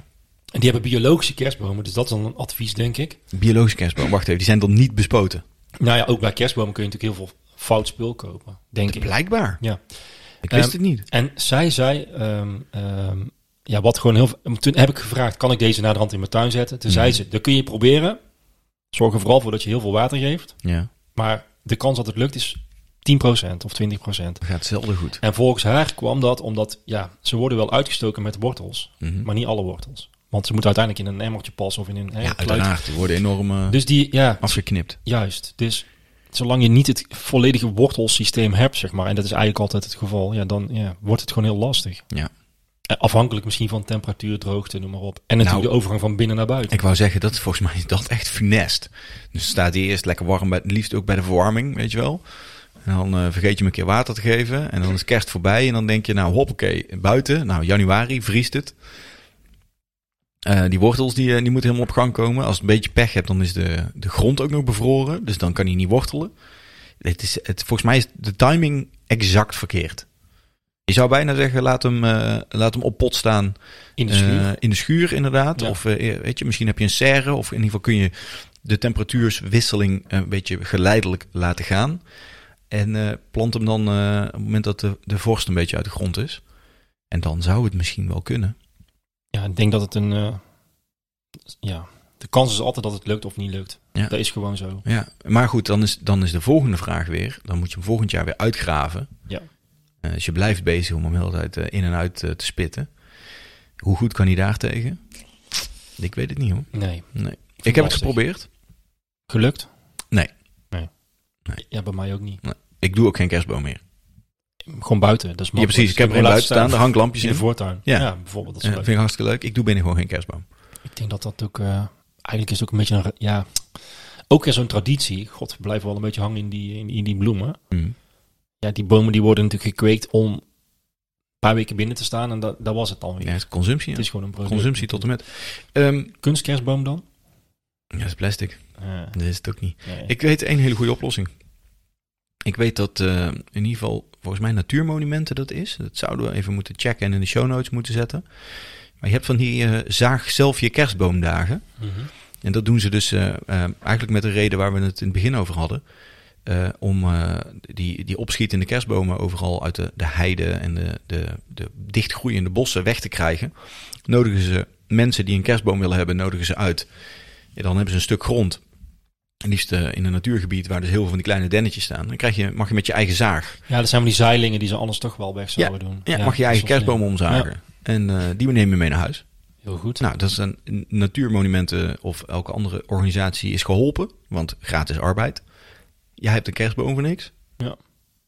B: En die hebben biologische kerstbomen, dus dat is dan een advies, denk ik.
A: Biologische kerstboom. Wacht even, die zijn dan niet bespoten.
B: Nou ja, ook bij kerstbomen kun je natuurlijk heel veel fout spul kopen, denk ik.
A: Blijkbaar.
B: Ja.
A: Ik wist
B: Ehm,
A: het niet.
B: En zij zei, ehm, ehm, ja, wat gewoon heel veel- Toen heb ik gevraagd, kan ik deze naar de hand in mijn tuin zetten? Toen
A: Mhm.
B: zei ze, dat kun je proberen. Zorg er vooral voor dat je heel veel water geeft.
A: Ja.
B: Maar de kans dat het lukt is 10% of 20%.
A: Dat gaat zelden goed.
B: En volgens haar kwam dat omdat, ja, ze worden wel uitgestoken met wortels,
A: Mhm.
B: maar niet alle wortels. Want ze moeten uiteindelijk in een emmertje passen of in een hè,
A: Ja,
B: kluit.
A: uiteraard. Die worden enorm eh,
B: Dus die, ja,
A: afgeknipt.
B: juist. Dus zolang je niet het volledige wortelsysteem hebt, zeg maar, en dat is eigenlijk altijd het geval, ja, dan ja, wordt het gewoon heel lastig.
A: Ja.
B: Eh, Afhankelijk misschien van temperatuur, droogte, noem maar op. En natuurlijk
A: Nou.
B: de overgang van binnen naar buiten.
A: Ik wou zeggen, dat is volgens mij is dat echt funest. Dus staat die eerst lekker warm, bij, het liefst ook bij de verwarming, weet je wel. En dan eh, vergeet je hem een keer water te geven. En dan is kerst voorbij. En dan denk je, nou hoppakee, buiten. Nou, januari vriest het. Eh, die wortels die, eh, die moeten helemaal op gang komen. Als het een beetje pech hebt, dan is de, de grond ook nog bevroren. Dus dan kan hij niet wortelen. Het is, het, volgens mij is de timing exact verkeerd. Je zou bijna zeggen, laat hem, eh, laat hem op pot staan
B: In de schuur.
A: eh, in de schuur inderdaad.
B: Ja.
A: Of eh, weet je, misschien heb je een serre. Of in ieder geval kun je de temperatuurswisseling eh, een beetje geleidelijk laten gaan. En eh, plant hem dan eh, op het moment dat de, de vorst een beetje uit de grond is. En dan zou het misschien wel kunnen.
B: Ja, ik denk dat het een, eh, ja, de kans is altijd dat het lukt of niet lukt.
A: Ja.
B: Dat is gewoon zo.
A: Ja, maar goed, dan is, dan is de volgende vraag weer. Dan moet je hem volgend jaar weer uitgraven.
B: Ja.
A: Eh, dus je blijft bezig om hem de hele tijd eh, in en uit eh, te spitten. Hoe goed kan hij daar tegen? Ik weet het niet hoor.
B: Nee.
A: Nee. Ik heb het
B: lastig.
A: geprobeerd.
B: Gelukt?
A: Nee.
B: Nee.
A: Nee.
B: Ja, bij mij ook niet.
A: Ik doe ook geen kerstboom meer.
B: Gewoon buiten. Dat is
A: Ja,
B: makkelijk.
A: precies. Ik heb er
B: gewoon
A: een buiten
B: laten
A: staan. Er hangt lampjes
B: in de
A: in.
B: voortuin.
A: Ja.
B: Ja, bijvoorbeeld. Dat
A: Eh,
B: is
A: vind
B: leuk.
A: ik hartstikke leuk. Ik doe binnen gewoon geen kerstboom.
B: Ik denk dat dat ook... eh, eigenlijk is het ook een beetje een... ra- Ja, ook weer zo'n traditie. God, we blijven wel een beetje hangen in die, in, in die bloemen.
A: Mm.
B: Ja, die bomen die worden natuurlijk gekweekt om een paar weken binnen te staan. En dat, dat was het dan weer.
A: Ja, het is consumptie.
B: Oh,
A: ja.
B: Het is gewoon een product.
A: Consumptie tot en met. Ehm,
B: Kunstkerstboom dan?
A: ja, dat is plastic.
B: Eh,
A: Dat is het ook niet.
B: nee.
A: Ik weet één hele goede oplossing. Ik weet dat eh, in ieder geval, volgens mij, natuurmonumenten dat is. Dat zouden we even moeten checken en in de show notes moeten zetten. Maar je hebt van die eh, zaag zelf je kerstboomdagen.
B: Mhm.
A: En dat doen ze dus eh, eh, eigenlijk met de reden waar we het in het begin over hadden. Eh, om eh, die, die opschietende kerstbomen overal uit de, de heide en de, de, de dichtgroeiende bossen weg te krijgen. Nodigen ze mensen die een kerstboom willen hebben, nodigen ze uit. En dan hebben ze een stuk grond. En liefst eh, in een natuurgebied waar dus heel veel van die kleine dennetjes staan. Dan krijg je, mag je met je eigen zaag.
B: Ja, dat zijn wel die zeilingen die ze anders toch wel weg zouden doen.
A: Ja, mag je je eigen
B: dat is wel
A: kerstboom omzagen. En eh, die neem je mee naar huis.
B: slim. Heel goed.
A: Nou, dat is een natuurmonumenten of elke andere organisatie is geholpen, want gratis arbeid. Jij hebt een kerstboom voor niks.
B: Ja.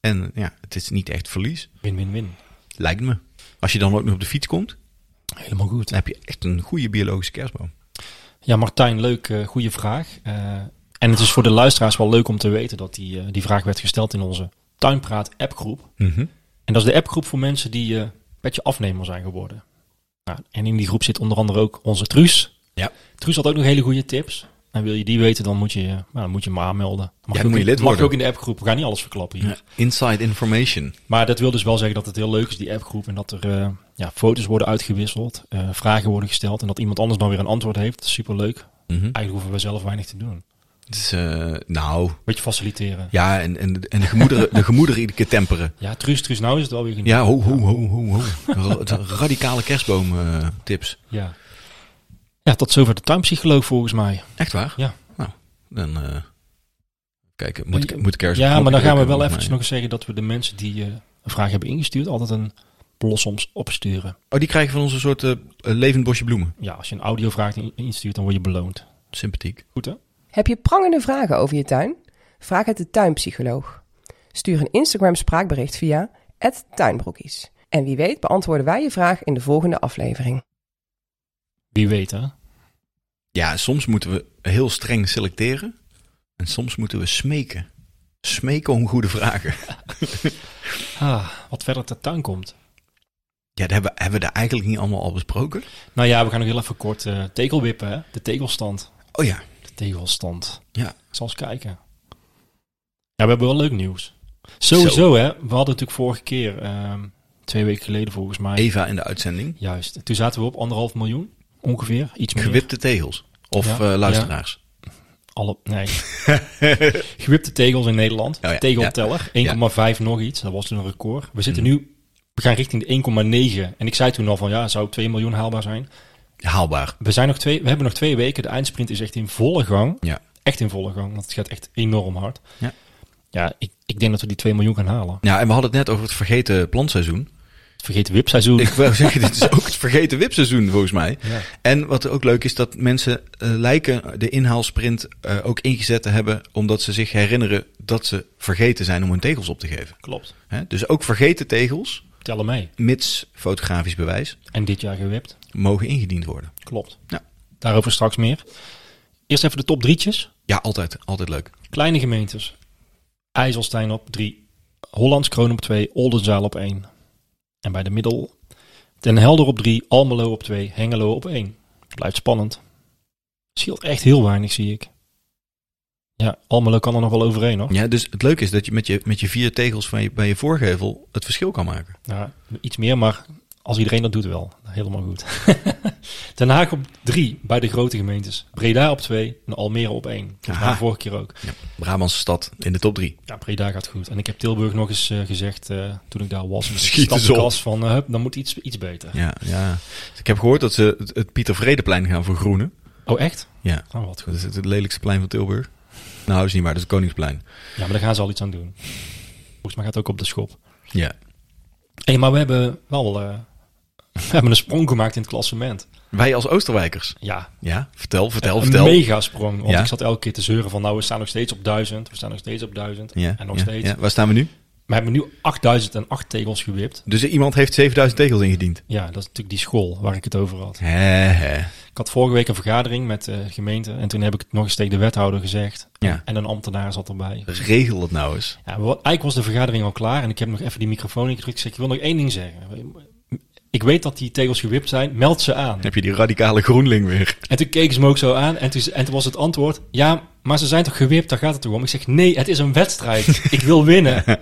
A: En ja, het is niet echt verlies,
B: Win-win-win.
A: lijkt me. Als je dan ook nog op de fiets komt,
B: Helemaal goed.
A: dan heb je echt een goede biologische kerstboom.
B: Ja, Martijn, leuk. eh goede vraag. Eh, en het is voor de luisteraars wel leuk om te weten dat die, eh, die vraag werd gesteld in onze Tuinpraat appgroep.
A: Mhm.
B: En dat is de appgroep voor mensen die eh, een beetje afnemer zijn geworden. Nou, en in die groep zit onder andere ook onze Truus.
A: Ja.
B: Truus had ook nog hele goede tips. En wil je die weten, dan moet je, nou, dan moet je hem aanmelden. Dan
A: dan
B: je ook
A: moet je
B: in-
A: lid
B: mag
A: worden.
B: ook in de appgroep. We gaan niet alles verklappen hier.
A: Ja. Inside information.
B: Maar dat wil dus wel zeggen dat het heel leuk is, die appgroep. En dat er eh, ja, foto's worden uitgewisseld, eh, vragen worden gesteld. En dat iemand anders dan weer een antwoord heeft. Superleuk.
A: Mhm.
B: Eigenlijk hoeven we zelf weinig te doen.
A: Het is, eh, nou,
B: Beetje faciliteren. Ja,
A: ja, en, en, en de, gemoederen, de gemoederen iedere keer temperen.
B: truus, truus, nou is het wel weer geniet.
A: Ja, ho, ho, ho, ho, ho. Ra- Radicale kerstboom eh, tips.
B: ja. Ja, tot zover de tuinpsycholoog volgens mij.
A: Echt waar?
B: Ja.
A: Nou, dan eh kijken. Moet, ik- moet ik ergens
B: Ja,
A: op
B: maar dan gaan we
A: drukken,
B: wel
A: volgens
B: eventjes
A: mij.
B: nog eens zeggen dat we de mensen die eh, een vraag hebben ingestuurd altijd een blossoms opsturen.
A: Oh, die krijgen van ons een soort eh, een levend bosje bloemen.
B: Ja, als je een audiovraag in- instuurt, dan word je beloond.
A: Sympathiek.
B: Goed hè?
C: Heb je prangende vragen over je tuin? Vraag het de tuinpsycholoog. Stuur een Instagram spraakbericht via @tuinbroekies. En wie weet beantwoorden wij je vraag in de volgende aflevering.
B: Wie weet hè?
A: Ja, soms moeten we heel streng selecteren. En soms moeten we smeken. Smeken om goede vragen.
B: Ah, wat verder ter tuin komt.
A: Ja, dat hebben, hebben we daar eigenlijk niet allemaal al besproken.
B: Nou ja, we gaan nog heel even kort eh tegelwippen, hè? De tegelstand.
A: Oh ja,
B: De tegelstand.
A: Ja.
B: Ik Zal eens kijken. Ja, we hebben wel leuk nieuws. Sowieso,
A: Zo.
B: hè. We hadden natuurlijk vorige keer, ehm, twee weken geleden volgens mij.
A: Eva in de uitzending.
B: Juist. Toen zaten we op anderhalf miljoen, ongeveer. Iets meer.
A: Gewipte tegels. Of
B: Ja,
A: eh, luisteraars.
B: Alle, nee. Gewipte tegels in Nederland.
A: Oh ja, Mhm.
B: Tegelteller. 1,5 nog iets. Dat was toen een record. We zitten nu, we gaan richting de 1,9. En ik zei toen al van, ja, zou 2 miljoen haalbaar zijn?
A: Haalbaar.
B: We, zijn nog twee, we hebben nog twee weken. De eindsprint is echt in volle gang.
A: Ja.
B: Echt in volle gang, want het gaat echt enorm hard.
A: Ja.
B: Ja, ik, ik denk dat we die 2 miljoen gaan halen.
A: Ja, en we hadden het net over het vergeten plantseizoen.
B: Vergeet WIP-seizoen.
A: Ik wil zeggen, dit is ook het vergeten wipseizoen volgens mij.
B: Ja.
A: En wat ook leuk is, dat mensen eh, lijken de inhaalsprint eh, ook ingezet te hebben... omdat ze zich herinneren dat ze vergeten zijn om hun tegels op te geven.
B: Klopt.
A: Hè? Dus ook vergeten tegels,
B: Tellen mee.
A: mits fotografisch bewijs,
B: En dit jaar gewipt.
A: mogen ingediend worden.
B: Klopt.
A: Ja.
B: Daarover straks meer. Eerst even de top drietjes.
A: Ja, altijd. Altijd leuk.
B: Kleine gemeentes. IJsselstein op 3. Hollands Kroon op 2. Oldenzaal op 1. En bij de middel. Den Helder op 3. Almelo op 2. Hengelo op 1. Blijft spannend. Scheelt echt heel weinig, zie ik. Ja, Almelo kan er nog wel overheen, hoor.
A: Ja, dus het leuke is dat je met je, met je vier tegels van je, bij je voorgevel het verschil kan maken.
B: Ja, Nou, iets meer, maar als iedereen dat doet wel. Helemaal goed. Den Haag op 3 bij de grote gemeentes. Breda op 2 en Almere op 1. Dat
A: Aha.
B: was vorige keer ook.
A: Ja. Brabantse stad in de top drie.
B: Ja, Breda gaat goed. En ik heb Tilburg nog eens eh, gezegd eh, toen ik daar was. met de
A: Schiet eens op.
B: stappenkast van, eh, hup, dan moet iets, iets beter.
A: Ja, ja. Dus ik heb gehoord dat ze het, het Pieter Vredeplein gaan vergroenen.
B: Oh, echt?
A: Ja,
B: Oh, wat
A: dat
B: goed.
A: is het lelijkste plein van Tilburg. Nou, dat is niet waar, dat is het Koningsplein.
B: Ja, maar daar gaan ze al iets aan doen. Volgens mij gaat het ook op de schop.
A: Ja.
B: hey, maar we hebben wel eh, we hebben een sprong gemaakt in het klassement.
A: Wij als Oosterwijkers.
B: Ja,
A: Ja, vertel, vertel,
B: een
A: vertel.
B: mega sprong. Want
A: Ja.
B: ik zat elke keer te zeuren van nou, we staan nog steeds op duizend. We staan nog steeds op duizend.
A: Ja,
B: en nog
A: ja,
B: steeds.
A: ja. Waar staan we nu?
B: We hebben nu 8008 tegels gewipt.
A: Dus iemand heeft 7000 tegels ingediend.
B: Ja, dat is natuurlijk die school waar ik het over had.
A: Hè, hè.
B: Ik had vorige week een vergadering met de gemeente. En toen heb ik het nog eens tegen de wethouder gezegd.
A: Ja.
B: En een ambtenaar zat erbij.
A: Dus regel dat nou eens.
B: Ja, wat, eigenlijk was de vergadering al klaar en ik heb nog even die microfoon ingedrukt. Ik zeg, ik wil nog één ding zeggen. Ik weet dat die tegels gewipt zijn, meld ze aan.
A: Dan heb je die radicale groenling weer.
B: En toen keken ze me ook zo aan en toen, en toen was het antwoord... Ja, maar ze zijn toch gewipt, daar gaat het toch om? Ik zeg, nee, het is een wedstrijd. Ik wil winnen.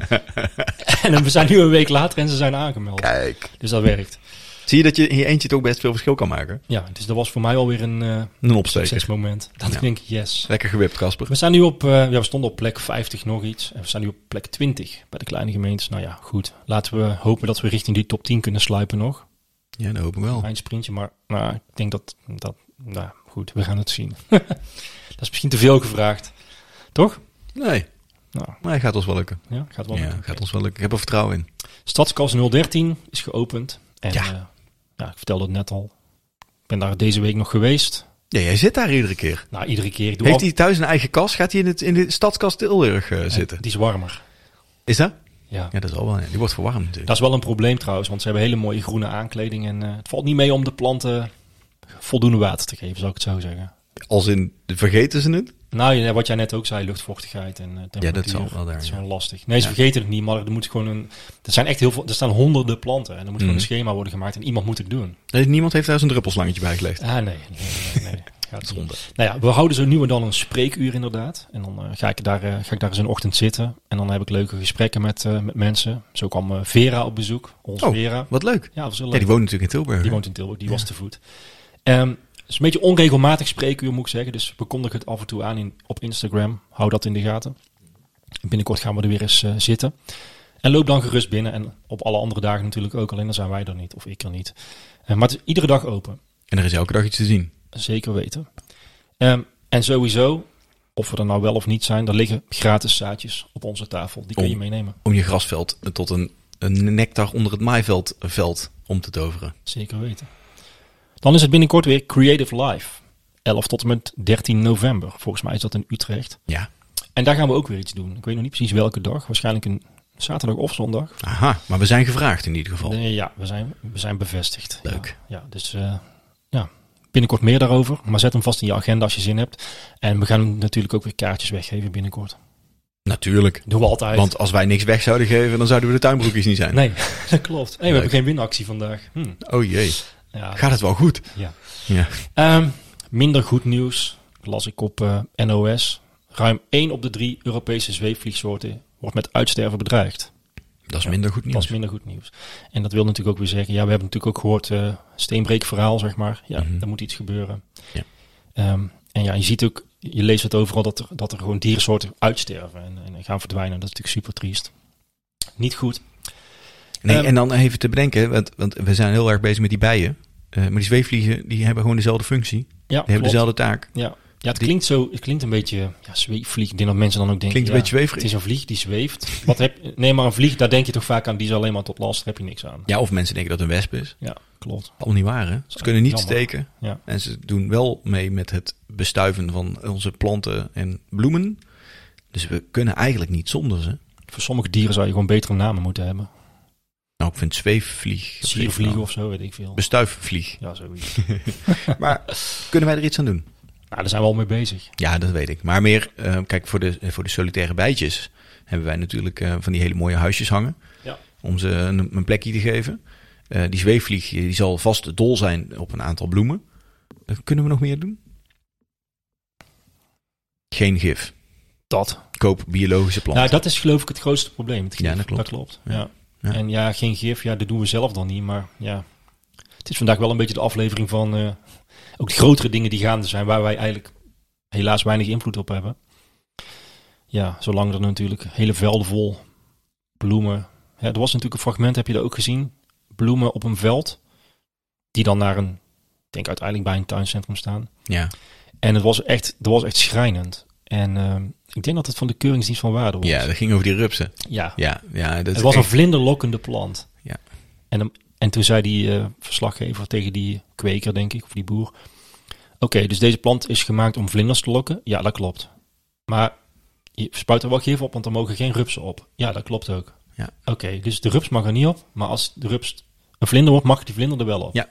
B: en we zijn nu een week later en ze zijn aangemeld.
A: Kijk.
B: Dus dat werkt.
A: Zie je dat je in je eentje toch best veel verschil kan maken?
B: Ja, dus dat was voor mij alweer een eh
A: Een opsteker.
B: succesmoment. Dat ik denk, yes.
A: Lekker gewipt, Casper.
B: We staan nu op, eh, ja, we stonden op plek 50 nog iets. En we staan nu op plek 20 bij de kleine gemeentes. Nou ja, goed. Laten we hopen dat we richting die top 10 kunnen sluipen nog.
A: Ja, dat hopen we wel.
B: Een sprintje, maar nou, ik denk dat, dat... Nou, goed, we gaan het zien. dat is misschien te veel gevraagd. Toch?
A: Nee,
B: Nou,
A: maar hij gaat ons wel lukken.
B: ja, gaat wel.
A: Ja, gaat ons wel lukken. Ik heb er vertrouwen in.
B: Stadskas 013 is geopend. En
A: Ja.
B: ja. ja, ik vertelde het net al. Ik ben daar deze week nog geweest.
A: Ja, jij zit daar iedere keer.
B: Nou, iedere keer. Ik doe
A: Heeft
B: al-
A: hij thuis een eigen kas? Gaat hij in, het, in de stadskast Tilburg eh, zitten?
B: Die is warmer.
A: Is dat?
B: Ja.
A: Ja, dat is al wel. ja. Die wordt verwarmd natuurlijk.
B: Dat is wel een probleem trouwens, want ze hebben hele mooie groene aankleding. En eh, het valt niet mee om de planten voldoende water te geven, zou ik het zo zeggen.
A: Als in, vergeten ze het?
B: Nou, ja, wat jij net ook zei, luchtvochtigheid en eh, temperatuur.
A: zal wel daar,
B: Dat is
A: ja.
B: gewoon lastig. Nee, ze vergeten het niet, maar er moet gewoon een... Er zijn echt heel veel... Er staan honderden planten en er moet gewoon
A: Mhm.
B: een schema worden gemaakt en iemand moet het doen.
A: Nee, niemand heeft daar zijn druppelslangetje bij gelegd.
B: Ah, nee. nee, nee, nee, Gaat niet. Nou ja, we houden zo nu en dan een spreekuur inderdaad. En dan eh, ga, ik daar, eh, ga ik daar eens een ochtend zitten. En dan heb ik leuke gesprekken met, eh, met mensen. Zo kwam eh, Vera op bezoek. Onze
A: Oh,
B: Vera.
A: wat leuk.
B: Ja, dat was heel
A: Ja,
B: leuk.
A: die woont natuurlijk in Tilburg.
B: Die woont in Tilburg, die was te voet. Ehm, het is een beetje onregelmatig spreekuur, moet ik zeggen. Dus we kondigen het af en toe aan in, op Instagram. Hou dat in de gaten. En binnenkort gaan we er weer eens eh, zitten. En loop dan gerust binnen. En op alle andere dagen natuurlijk ook. Alleen dan zijn wij er niet, of ik er niet. Eh, maar het is iedere dag open.
A: En er is elke dag iets te zien.
B: Zeker weten. Ehm, en sowieso, of we er nou wel of niet zijn, er liggen gratis zaadjes op onze tafel. Die kun je
A: Om.
B: meenemen.
A: Om je grasveld tot een, een nectar onder het maaiveld veld om te toveren.
B: Zeker weten. Dan is het binnenkort weer Creative Life. 11 tot en met 13 november. Volgens mij is dat in Utrecht.
A: Ja.
B: En daar gaan we ook weer iets doen. Ik weet nog niet precies welke dag. Waarschijnlijk een zaterdag of zondag.
A: Aha, maar we zijn gevraagd in ieder geval.
B: Nee, ja, we zijn, we zijn bevestigd.
A: Leuk.
B: Ja, ja, dus eh, ja, binnenkort meer daarover. Maar zet hem vast in je agenda als je zin hebt. En we gaan natuurlijk ook weer kaartjes weggeven binnenkort.
A: Natuurlijk.
B: Doen we altijd.
A: Want als wij niks weg zouden geven, dan zouden we de tuinbroekjes niet zijn.
B: Nee, dat klopt. Hey, we
A: Leuk.
B: hebben geen winactie vandaag. Hm,
A: Oh jee,
B: ja,
A: gaat het wel goed?
B: ja.
A: Ja.
B: Ehm, minder goed nieuws las ik op eh, NOS. Ruim 1 op de 3 Europese zweefvliegsoorten wordt met uitsterven bedreigd.
A: Dat is minder goed
B: Dat
A: nieuws.
B: is minder goed nieuws. En dat wil natuurlijk ook weer zeggen, ja, we hebben natuurlijk ook gehoord eh steenbreekverhaal, zeg maar. Ja, er moet iets gebeuren.
A: Mhm. Ja.
B: Ehm, en ja, je ziet ook, je leest het overal dat er, dat er gewoon diersoorten uitsterven en, en gaan verdwijnen. Dat is natuurlijk super triest. Niet goed.
A: Nee,
B: Ehm,
A: en dan even te bedenken, want, want we zijn heel erg bezig met die bijen. Eh, maar die zweefvliegen, die hebben gewoon dezelfde functie. Die
B: Ja,
A: hebben
B: klopt.
A: dezelfde taak.
B: Ja, ja het, klinkt zo, het klinkt een beetje ja, zweefvlieg. Ik denk dat mensen dan ook denken...
A: Klinkt een
B: ja,
A: beetje zweverig.
B: Het is een vlieg die zweeft. Wat heb, nee, maar een vlieg, daar denk je toch vaak aan. Die is alleen maar tot last, daar heb je niks aan.
A: Ja, of mensen denken dat het een wesp is.
B: Ja, klopt.
A: Al niet waar, hè? Ze kunnen niet
B: jammer.
A: steken.
B: Ja.
A: En ze doen wel mee met het bestuiven van onze planten en bloemen. Dus we kunnen eigenlijk niet zonder ze.
B: Voor sommige dieren zou je gewoon betere namen moeten hebben.
A: Nou, ik vind zweefvlieg.
B: Siervliegen of zo, weet ik veel.
A: Bestuifvlieg.
B: Ja, zoiets.
A: Maar kunnen wij er iets aan doen?
B: nou, daar zijn we al mee bezig.
A: Ja, dat weet ik. Maar meer, eh, kijk, voor de, voor de solitaire bijtjes hebben wij natuurlijk eh, van die hele mooie huisjes hangen.
B: Ja.
A: Om ze een, een plekje te geven. Eh, die zweefvlieg die zal vast dol zijn op een aantal bloemen. Eh, kunnen we nog meer doen? Geen gif.
B: Dat.
A: Koop biologische planten.
B: Nou, dat is geloof ik het grootste probleem. Het gif.
A: Ja, dat klopt.
B: Ja.
A: Ja. Ja.
B: En ja, geen gif, ja, dat doen we zelf dan niet. Maar ja, het is vandaag wel een beetje de aflevering van... eh, ook de grotere dingen die gaande zijn, waar wij eigenlijk helaas weinig invloed op hebben. Ja, zolang er natuurlijk hele velden vol bloemen... Hè, er was natuurlijk een fragment, heb je dat ook gezien? Bloemen op een veld, die dan naar een denk uiteindelijk bij een tuincentrum staan.
A: Ja.
B: En het was echt, dat was echt schrijnend. En ehm, ik denk dat het van de keuringsdienst van waarde was.
A: ja, dat ging over die rupsen.
B: ja.
A: Ja, ja dat
B: Het
A: is
B: was een
A: echt-
B: vlinderlokkende plant.
A: Ja.
B: En, hem- en toen zei die eh, verslaggever tegen die kweker, denk ik, of die boer. Oké, dus deze plant is gemaakt om vlinders te lokken. Ja, dat klopt. Maar je spuit er wel gif op, want er mogen geen rupsen op. Ja, dat klopt ook.
A: Ja.
B: Oké, dus de rups mag er niet op. Maar als de rups een vlinder wordt, mag die vlinder er wel op.
A: Ja.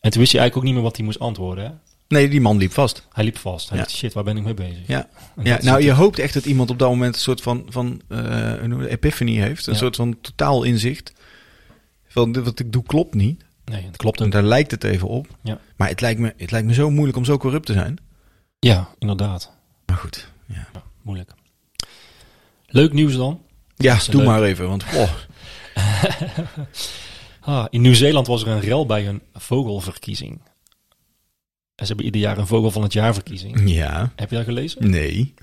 B: En toen wist hij eigenlijk ook niet meer wat hij moest antwoorden. Hè?
A: Nee, die man liep vast.
B: Hij liep vast. Hij
A: Ja.
B: dacht, shit, waar ben ik mee bezig?
A: Ja. ja
B: En dat is
A: nou, je
B: natuurlijk-
A: hoopt echt dat iemand op dat moment een soort van, van eh, hoe noemen we dat, epiphany heeft. Een
B: Ja.
A: soort van totaal inzicht. Van dit wat ik doe klopt niet.
B: Nee, dat klopt
A: En
B: ook.
A: daar lijkt het even op.
B: Ja.
A: Maar het lijkt, me, het lijkt me zo moeilijk om zo corrupt te zijn.
B: Ja, inderdaad.
A: Maar goed. Ja,
B: Ja, moeilijk. Leuk nieuws dan.
A: ja
B: is
A: doe
B: leuk.
A: maar even. Want oh,
B: Ah, in Nieuw-Zeeland was er een rel bij een vogelverkiezing. En ze hebben ieder jaar een vogel van het jaar verkiezing.
A: Mm. ja.
B: Heb je dat gelezen?
A: Nee.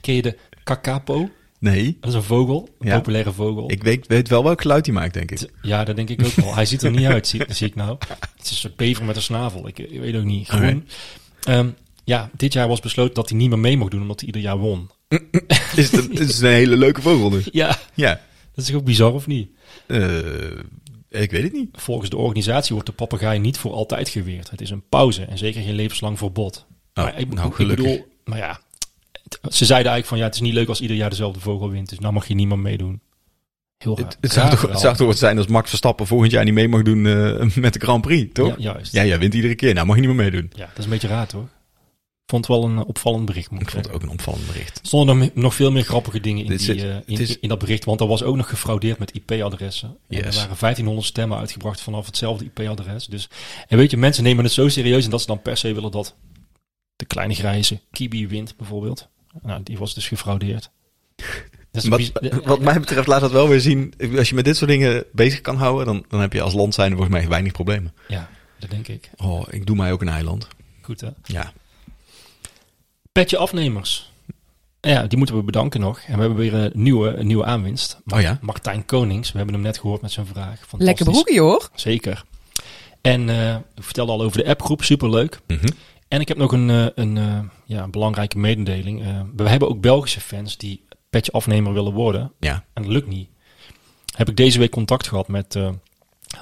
B: Ken je de kakapo?
A: Nee.
B: Dat is een vogel, een
A: Ja.
B: populaire vogel.
A: Ik weet, weet wel welk geluid hij maakt, denk ik.
B: Ja, dat denk ik ook wel. Hij ziet er niet uit, zie, zie ik nou. Het is een soort bever met een snavel. Ik, ik weet ook niet. Groen. Ehm, ja, dit jaar was besloten dat hij niet meer mee mocht doen, omdat hij ieder jaar won.
A: Is het, het is een hele leuke vogel dus.
B: Ja,
A: Ja.
B: dat is toch ook bizar of niet?
A: Eh, ik weet het niet.
B: Volgens de organisatie wordt de papegaai niet voor altijd geweerd. Het is een pauze en zeker geen levenslang verbod. maar ik,
A: nou,
B: ik
A: gelukkig.
B: bedoel, maar ja, het- ze zeiden eigenlijk van ja, het is niet leuk als ieder jaar dezelfde vogel wint. Dus nou mag je niemand meedoen. Heel raar.
A: Het, het, zou
B: Raar
A: toch, het
B: verhaal.
A: zou toch wat zijn als Max Verstappen volgend jaar niet mee mag doen eh, met de Grand Prix, toch?
B: Ja, juist.
A: Ja,
B: Ja.
A: jij wint iedere keer. Nou, mag je niet meer meedoen.
B: dat is een beetje raar hoor. Vond het wel een eh, opvallend bericht. Moet ik
A: Ik vond het
B: zeggen.
A: ook een opvallend bericht.
B: Er stonden nog, nog veel meer grappige dingen in,
A: Dit
B: die,
A: zit-
B: eh, in,
A: het is-
B: in dat bericht. Want er was ook nog gefraudeerd met IP-adressen. En Er
A: Yes.
B: waren 1500 stemmen uitgebracht vanaf hetzelfde IP-adres. Dus, en weet je, mensen nemen het zo serieus... en dat ze dan per se willen dat de kleine grijze Kibi wint bijvoorbeeld. Nou, die was dus gefraudeerd. Dat is
A: Wat,
B: bizar-
A: wat mij betreft laat dat wel weer zien. Als je met dit soort dingen bezig kan houden, dan, dan heb je als land zijnde volgens mij weinig problemen.
B: Ja, dat denk ik.
A: Oh, ik doe mij ook een eiland.
B: Goed hè.
A: Ja.
B: Petje afnemers. Ja, die moeten we bedanken nog. En we hebben weer een nieuwe, een nieuwe aanwinst.
A: Oh ja?
B: Martijn Konings. We hebben hem net gehoord met zijn vraag.
C: Lekker
B: Fantastisch.
C: broekje hoor.
B: Zeker. En eh ik vertelde al over de appgroep, superleuk.
A: Mhm.
B: En ik heb nog een, eh, een eh, ja, een belangrijke mededeling. Eh, we hebben ook Belgische fans die petje afnemer willen worden.
A: Ja.
B: En dat lukt niet. Heb ik deze week contact gehad met eh,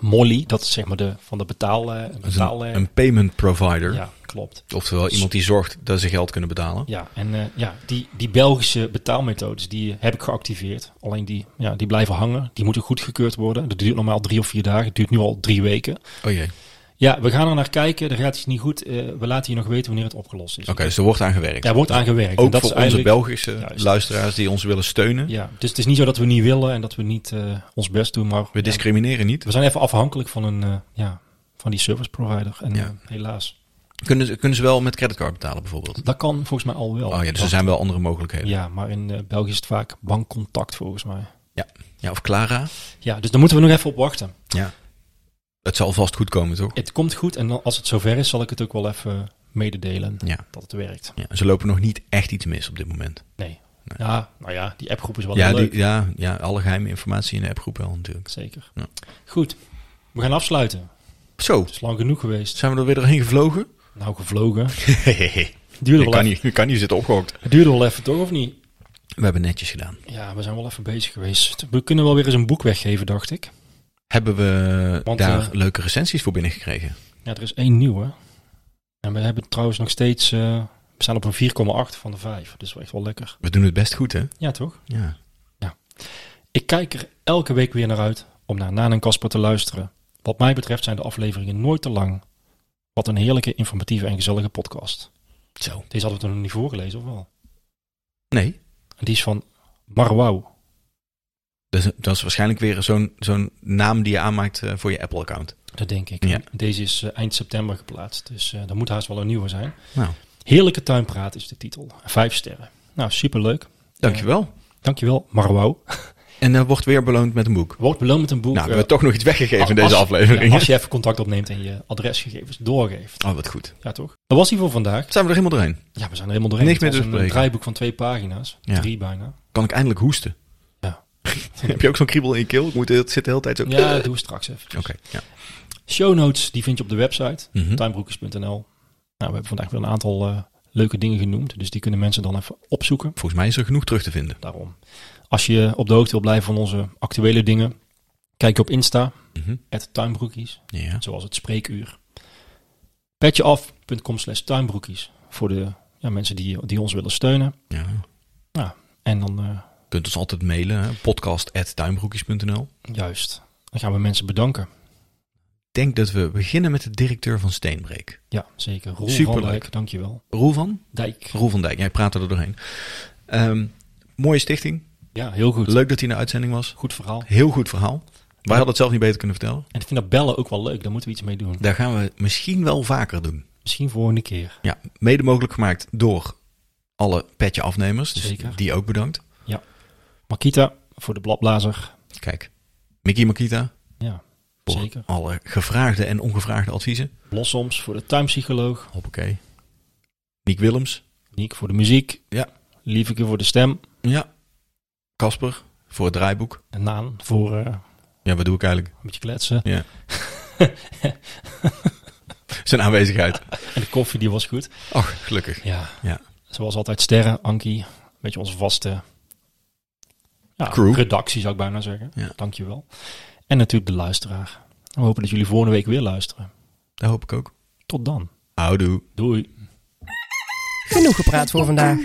B: Molly, dat is zeg maar de, van de betaal... eh,
A: Dat is een-
B: betaal eh,
A: een, payment provider.
B: ja, klopt.
A: Oftewel iemand die zorgt dat ze geld kunnen betalen.
B: Ja, en eh, ja, die, die Belgische betaalmethodes, die heb ik geactiveerd. Alleen die, ja, die blijven hangen. Die moeten goedgekeurd worden. Dat duurt normaal drie of vier dagen. Het duurt nu al drie weken.
A: Oh jee. Oké,
B: Ja, we gaan er naar kijken. De gaat is niet goed. Eh, we laten je nog weten wanneer het opgelost is.
A: dus er wordt aan gewerkt.
B: Daar wordt aan gewerkt. En
A: Ook
B: dat
A: voor
B: is
A: onze
B: eigenlijk-
A: Belgische
B: Juist.
A: luisteraars die ons willen steunen.
B: Ja, dus het is niet zo dat we niet willen en dat we niet eh, ons best doen. Maar
A: We discrimineren niet.
B: we zijn even afhankelijk van, een, eh, ja, van die service provider. En
A: Ja.
B: eh, helaas,
A: Kunnen ze, kunnen ze wel met creditcard betalen bijvoorbeeld?
B: dat kan volgens mij al wel.
A: Oh ja, dus er
B: Dat-
A: zijn wel andere mogelijkheden. Ja,
B: ja maar in eh, België is het vaak bankcontact volgens mij.
A: of Clara?
B: Ja, dus daar moeten we nog even op wachten.
A: Ja. Het zal vast goed komen, toch?
B: Het komt goed en dan, als het zover is, zal ik het ook wel even mededelen
A: Ja.
B: dat het werkt.
A: ja. Ze lopen nog niet echt iets mis op dit moment.
B: Nee. Ja, nou ja, die appgroep is wel
A: Ja,
B: heel leuk.
A: die, ja, ja, alle geheime informatie in de appgroep wel natuurlijk.
B: Zeker.
A: Ja.
B: Goed, we gaan afsluiten.
A: Zo,
B: Het is lang genoeg geweest.
A: zijn we er weer doorheen gevlogen?
B: Nou, gevlogen.
A: je,
B: Duurde wel,
A: kan
B: even,
A: niet, je kan niet zitten opgehokt.
B: het duurde wel even, toch, of niet?
A: We hebben netjes gedaan.
B: Ja, we zijn wel even bezig geweest. We kunnen wel weer eens een boek weggeven, dacht ik.
A: Hebben we
B: Want,
A: daar
B: eh,
A: leuke recensies voor binnengekregen?
B: Ja, er is één nieuwe. En we hebben trouwens nog steeds... eh, we staan op een 4,8 van de 5. Dus wel echt wel lekker.
A: We doen het best goed, hè?
B: Ja, toch?
A: Ja.
B: Ik kijk er elke week weer naar uit om naar Naan en Kasper te luisteren. Wat mij betreft zijn de afleveringen nooit te lang. Wat een heerlijke, informatieve en gezellige podcast.
A: Zo.
B: Deze hadden we toen nog niet voorgelezen, of wel?
A: Nee,
B: En die is van Marwau.
A: dat is, dat is waarschijnlijk weer zo'n zo'n naam die je aanmaakt eh, voor je Apple-account.
B: Dat denk ik.
A: Ja.
B: Deze is eh, eind september geplaatst, dus eh dat moet haast wel een nieuwe zijn.
A: Nou.
B: Heerlijke tuinpraat is de titel. Vijf sterren. Nou, superleuk.
A: Dankjewel.
B: Dankjewel, Marwou.
A: En dat wordt weer beloond met een boek.
B: Wordt beloond met een boek.
A: Nou, we
B: eh,
A: hebben toch nog iets weggegeven in
B: als-
A: deze aflevering.
B: ja, als je even contact opneemt en je adresgegevens doorgeeft.
A: Oh, wat goed.
B: Ja, toch? Dat was hij voor vandaag.
A: Zijn we er helemaal doorheen?
B: Ja, we zijn er helemaal doorheen.
A: Niks meer
B: Het
A: te
B: was een
A: bespreken.
B: draaiboek van twee pagina's.
A: Ja.
B: Drie bijna.
A: Kan ik eindelijk hoesten?
B: Ja.
A: Heb je ook zo'n kriebel in je keel? Ik moet, het zit de hele tijd zo...
B: Ja, dat doen we straks even.
A: Oké, ja.
B: Show notes, die vind je op de website,
A: Mhm.
B: tuinbroekjes.nl. Nou, we hebben vandaag weer een aantal eh, leuke dingen genoemd, dus die kunnen mensen dan even opzoeken.
A: Volgens mij is er genoeg terug te vinden.
B: Daarom. Als je op de hoogte wil blijven van onze actuele dingen, kijk op Insta,
A: Mhm.
B: tuinbroekies,
A: Ja.
B: zoals het spreekuur. Petjeaf.com slash tuinbroekies, voor de ja, mensen die, die ons willen steunen.
A: ja.
B: En dan eh,
A: Je kunt ons altijd mailen, hè, podcast.tuinbroekjes.nl.
B: juist, dan gaan we mensen bedanken.
A: Ik denk dat we beginnen met de directeur van Steenbreek.
B: Ja, zeker. Roel
A: Superleuk.
B: van Dijk, dankjewel.
A: Roel van?
B: Dijk.
A: Roel van Dijk, jij praatte er doorheen. Ehm, mooie stichting.
B: Ja, heel goed.
A: Leuk dat hij in de uitzending was.
B: Goed verhaal.
A: Heel goed verhaal. Wij hadden het zelf niet beter kunnen vertellen.
B: En ik vind dat bellen ook wel leuk. Daar moeten we iets mee doen.
A: Daar gaan we misschien wel vaker doen.
B: Misschien volgende keer.
A: Ja, mede mogelijk gemaakt door alle petje afnemers. Dus
B: Zeker.
A: die ook bedankt.
B: Makita voor de bladblazer.
A: Kijk, Mickey Makita
B: Ja,
A: voor
B: zeker.
A: alle gevraagde en ongevraagde adviezen.
B: Blossoms voor de tuinpsycholoog.
A: Hoppakee. Niek Willems.
B: Niek voor de muziek.
A: Ja.
B: Lieveke voor de stem.
A: Ja. Casper voor het draaiboek.
B: En Naan voor eh, een
A: Ja, wat doe ik eigenlijk?
B: beetje kletsen.
A: Ja. Zijn aanwezigheid.
B: En de koffie die was goed.
A: Ach, gelukkig.
B: Ja.
A: Ja.
B: Zoals altijd Sterren, Ankie. Een beetje onze vaste ja,
A: Crew.
B: redactie zou ik bijna zeggen.
A: Ja.
B: Dankjewel. En natuurlijk de luisteraar. We hopen dat jullie volgende week weer luisteren.
A: Daar hoop ik ook.
B: Tot dan.
A: Houdoe.
B: Doei.
C: Genoeg gepraat voor vandaag.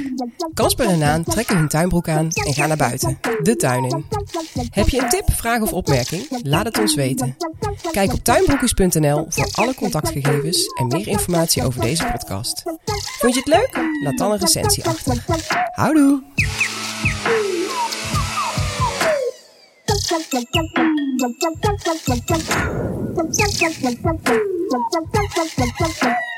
C: Kasper en Naan trekken hun tuinbroek aan en gaan naar buiten, de tuin in. Heb je een tip, vraag of opmerking? Laat het ons weten. Kijk op tuinbroekjes.nl voor alle contactgegevens en meer informatie over deze podcast. Vond je het leuk? Laat dan een recensie achter. Houdoe!
G: Thank you.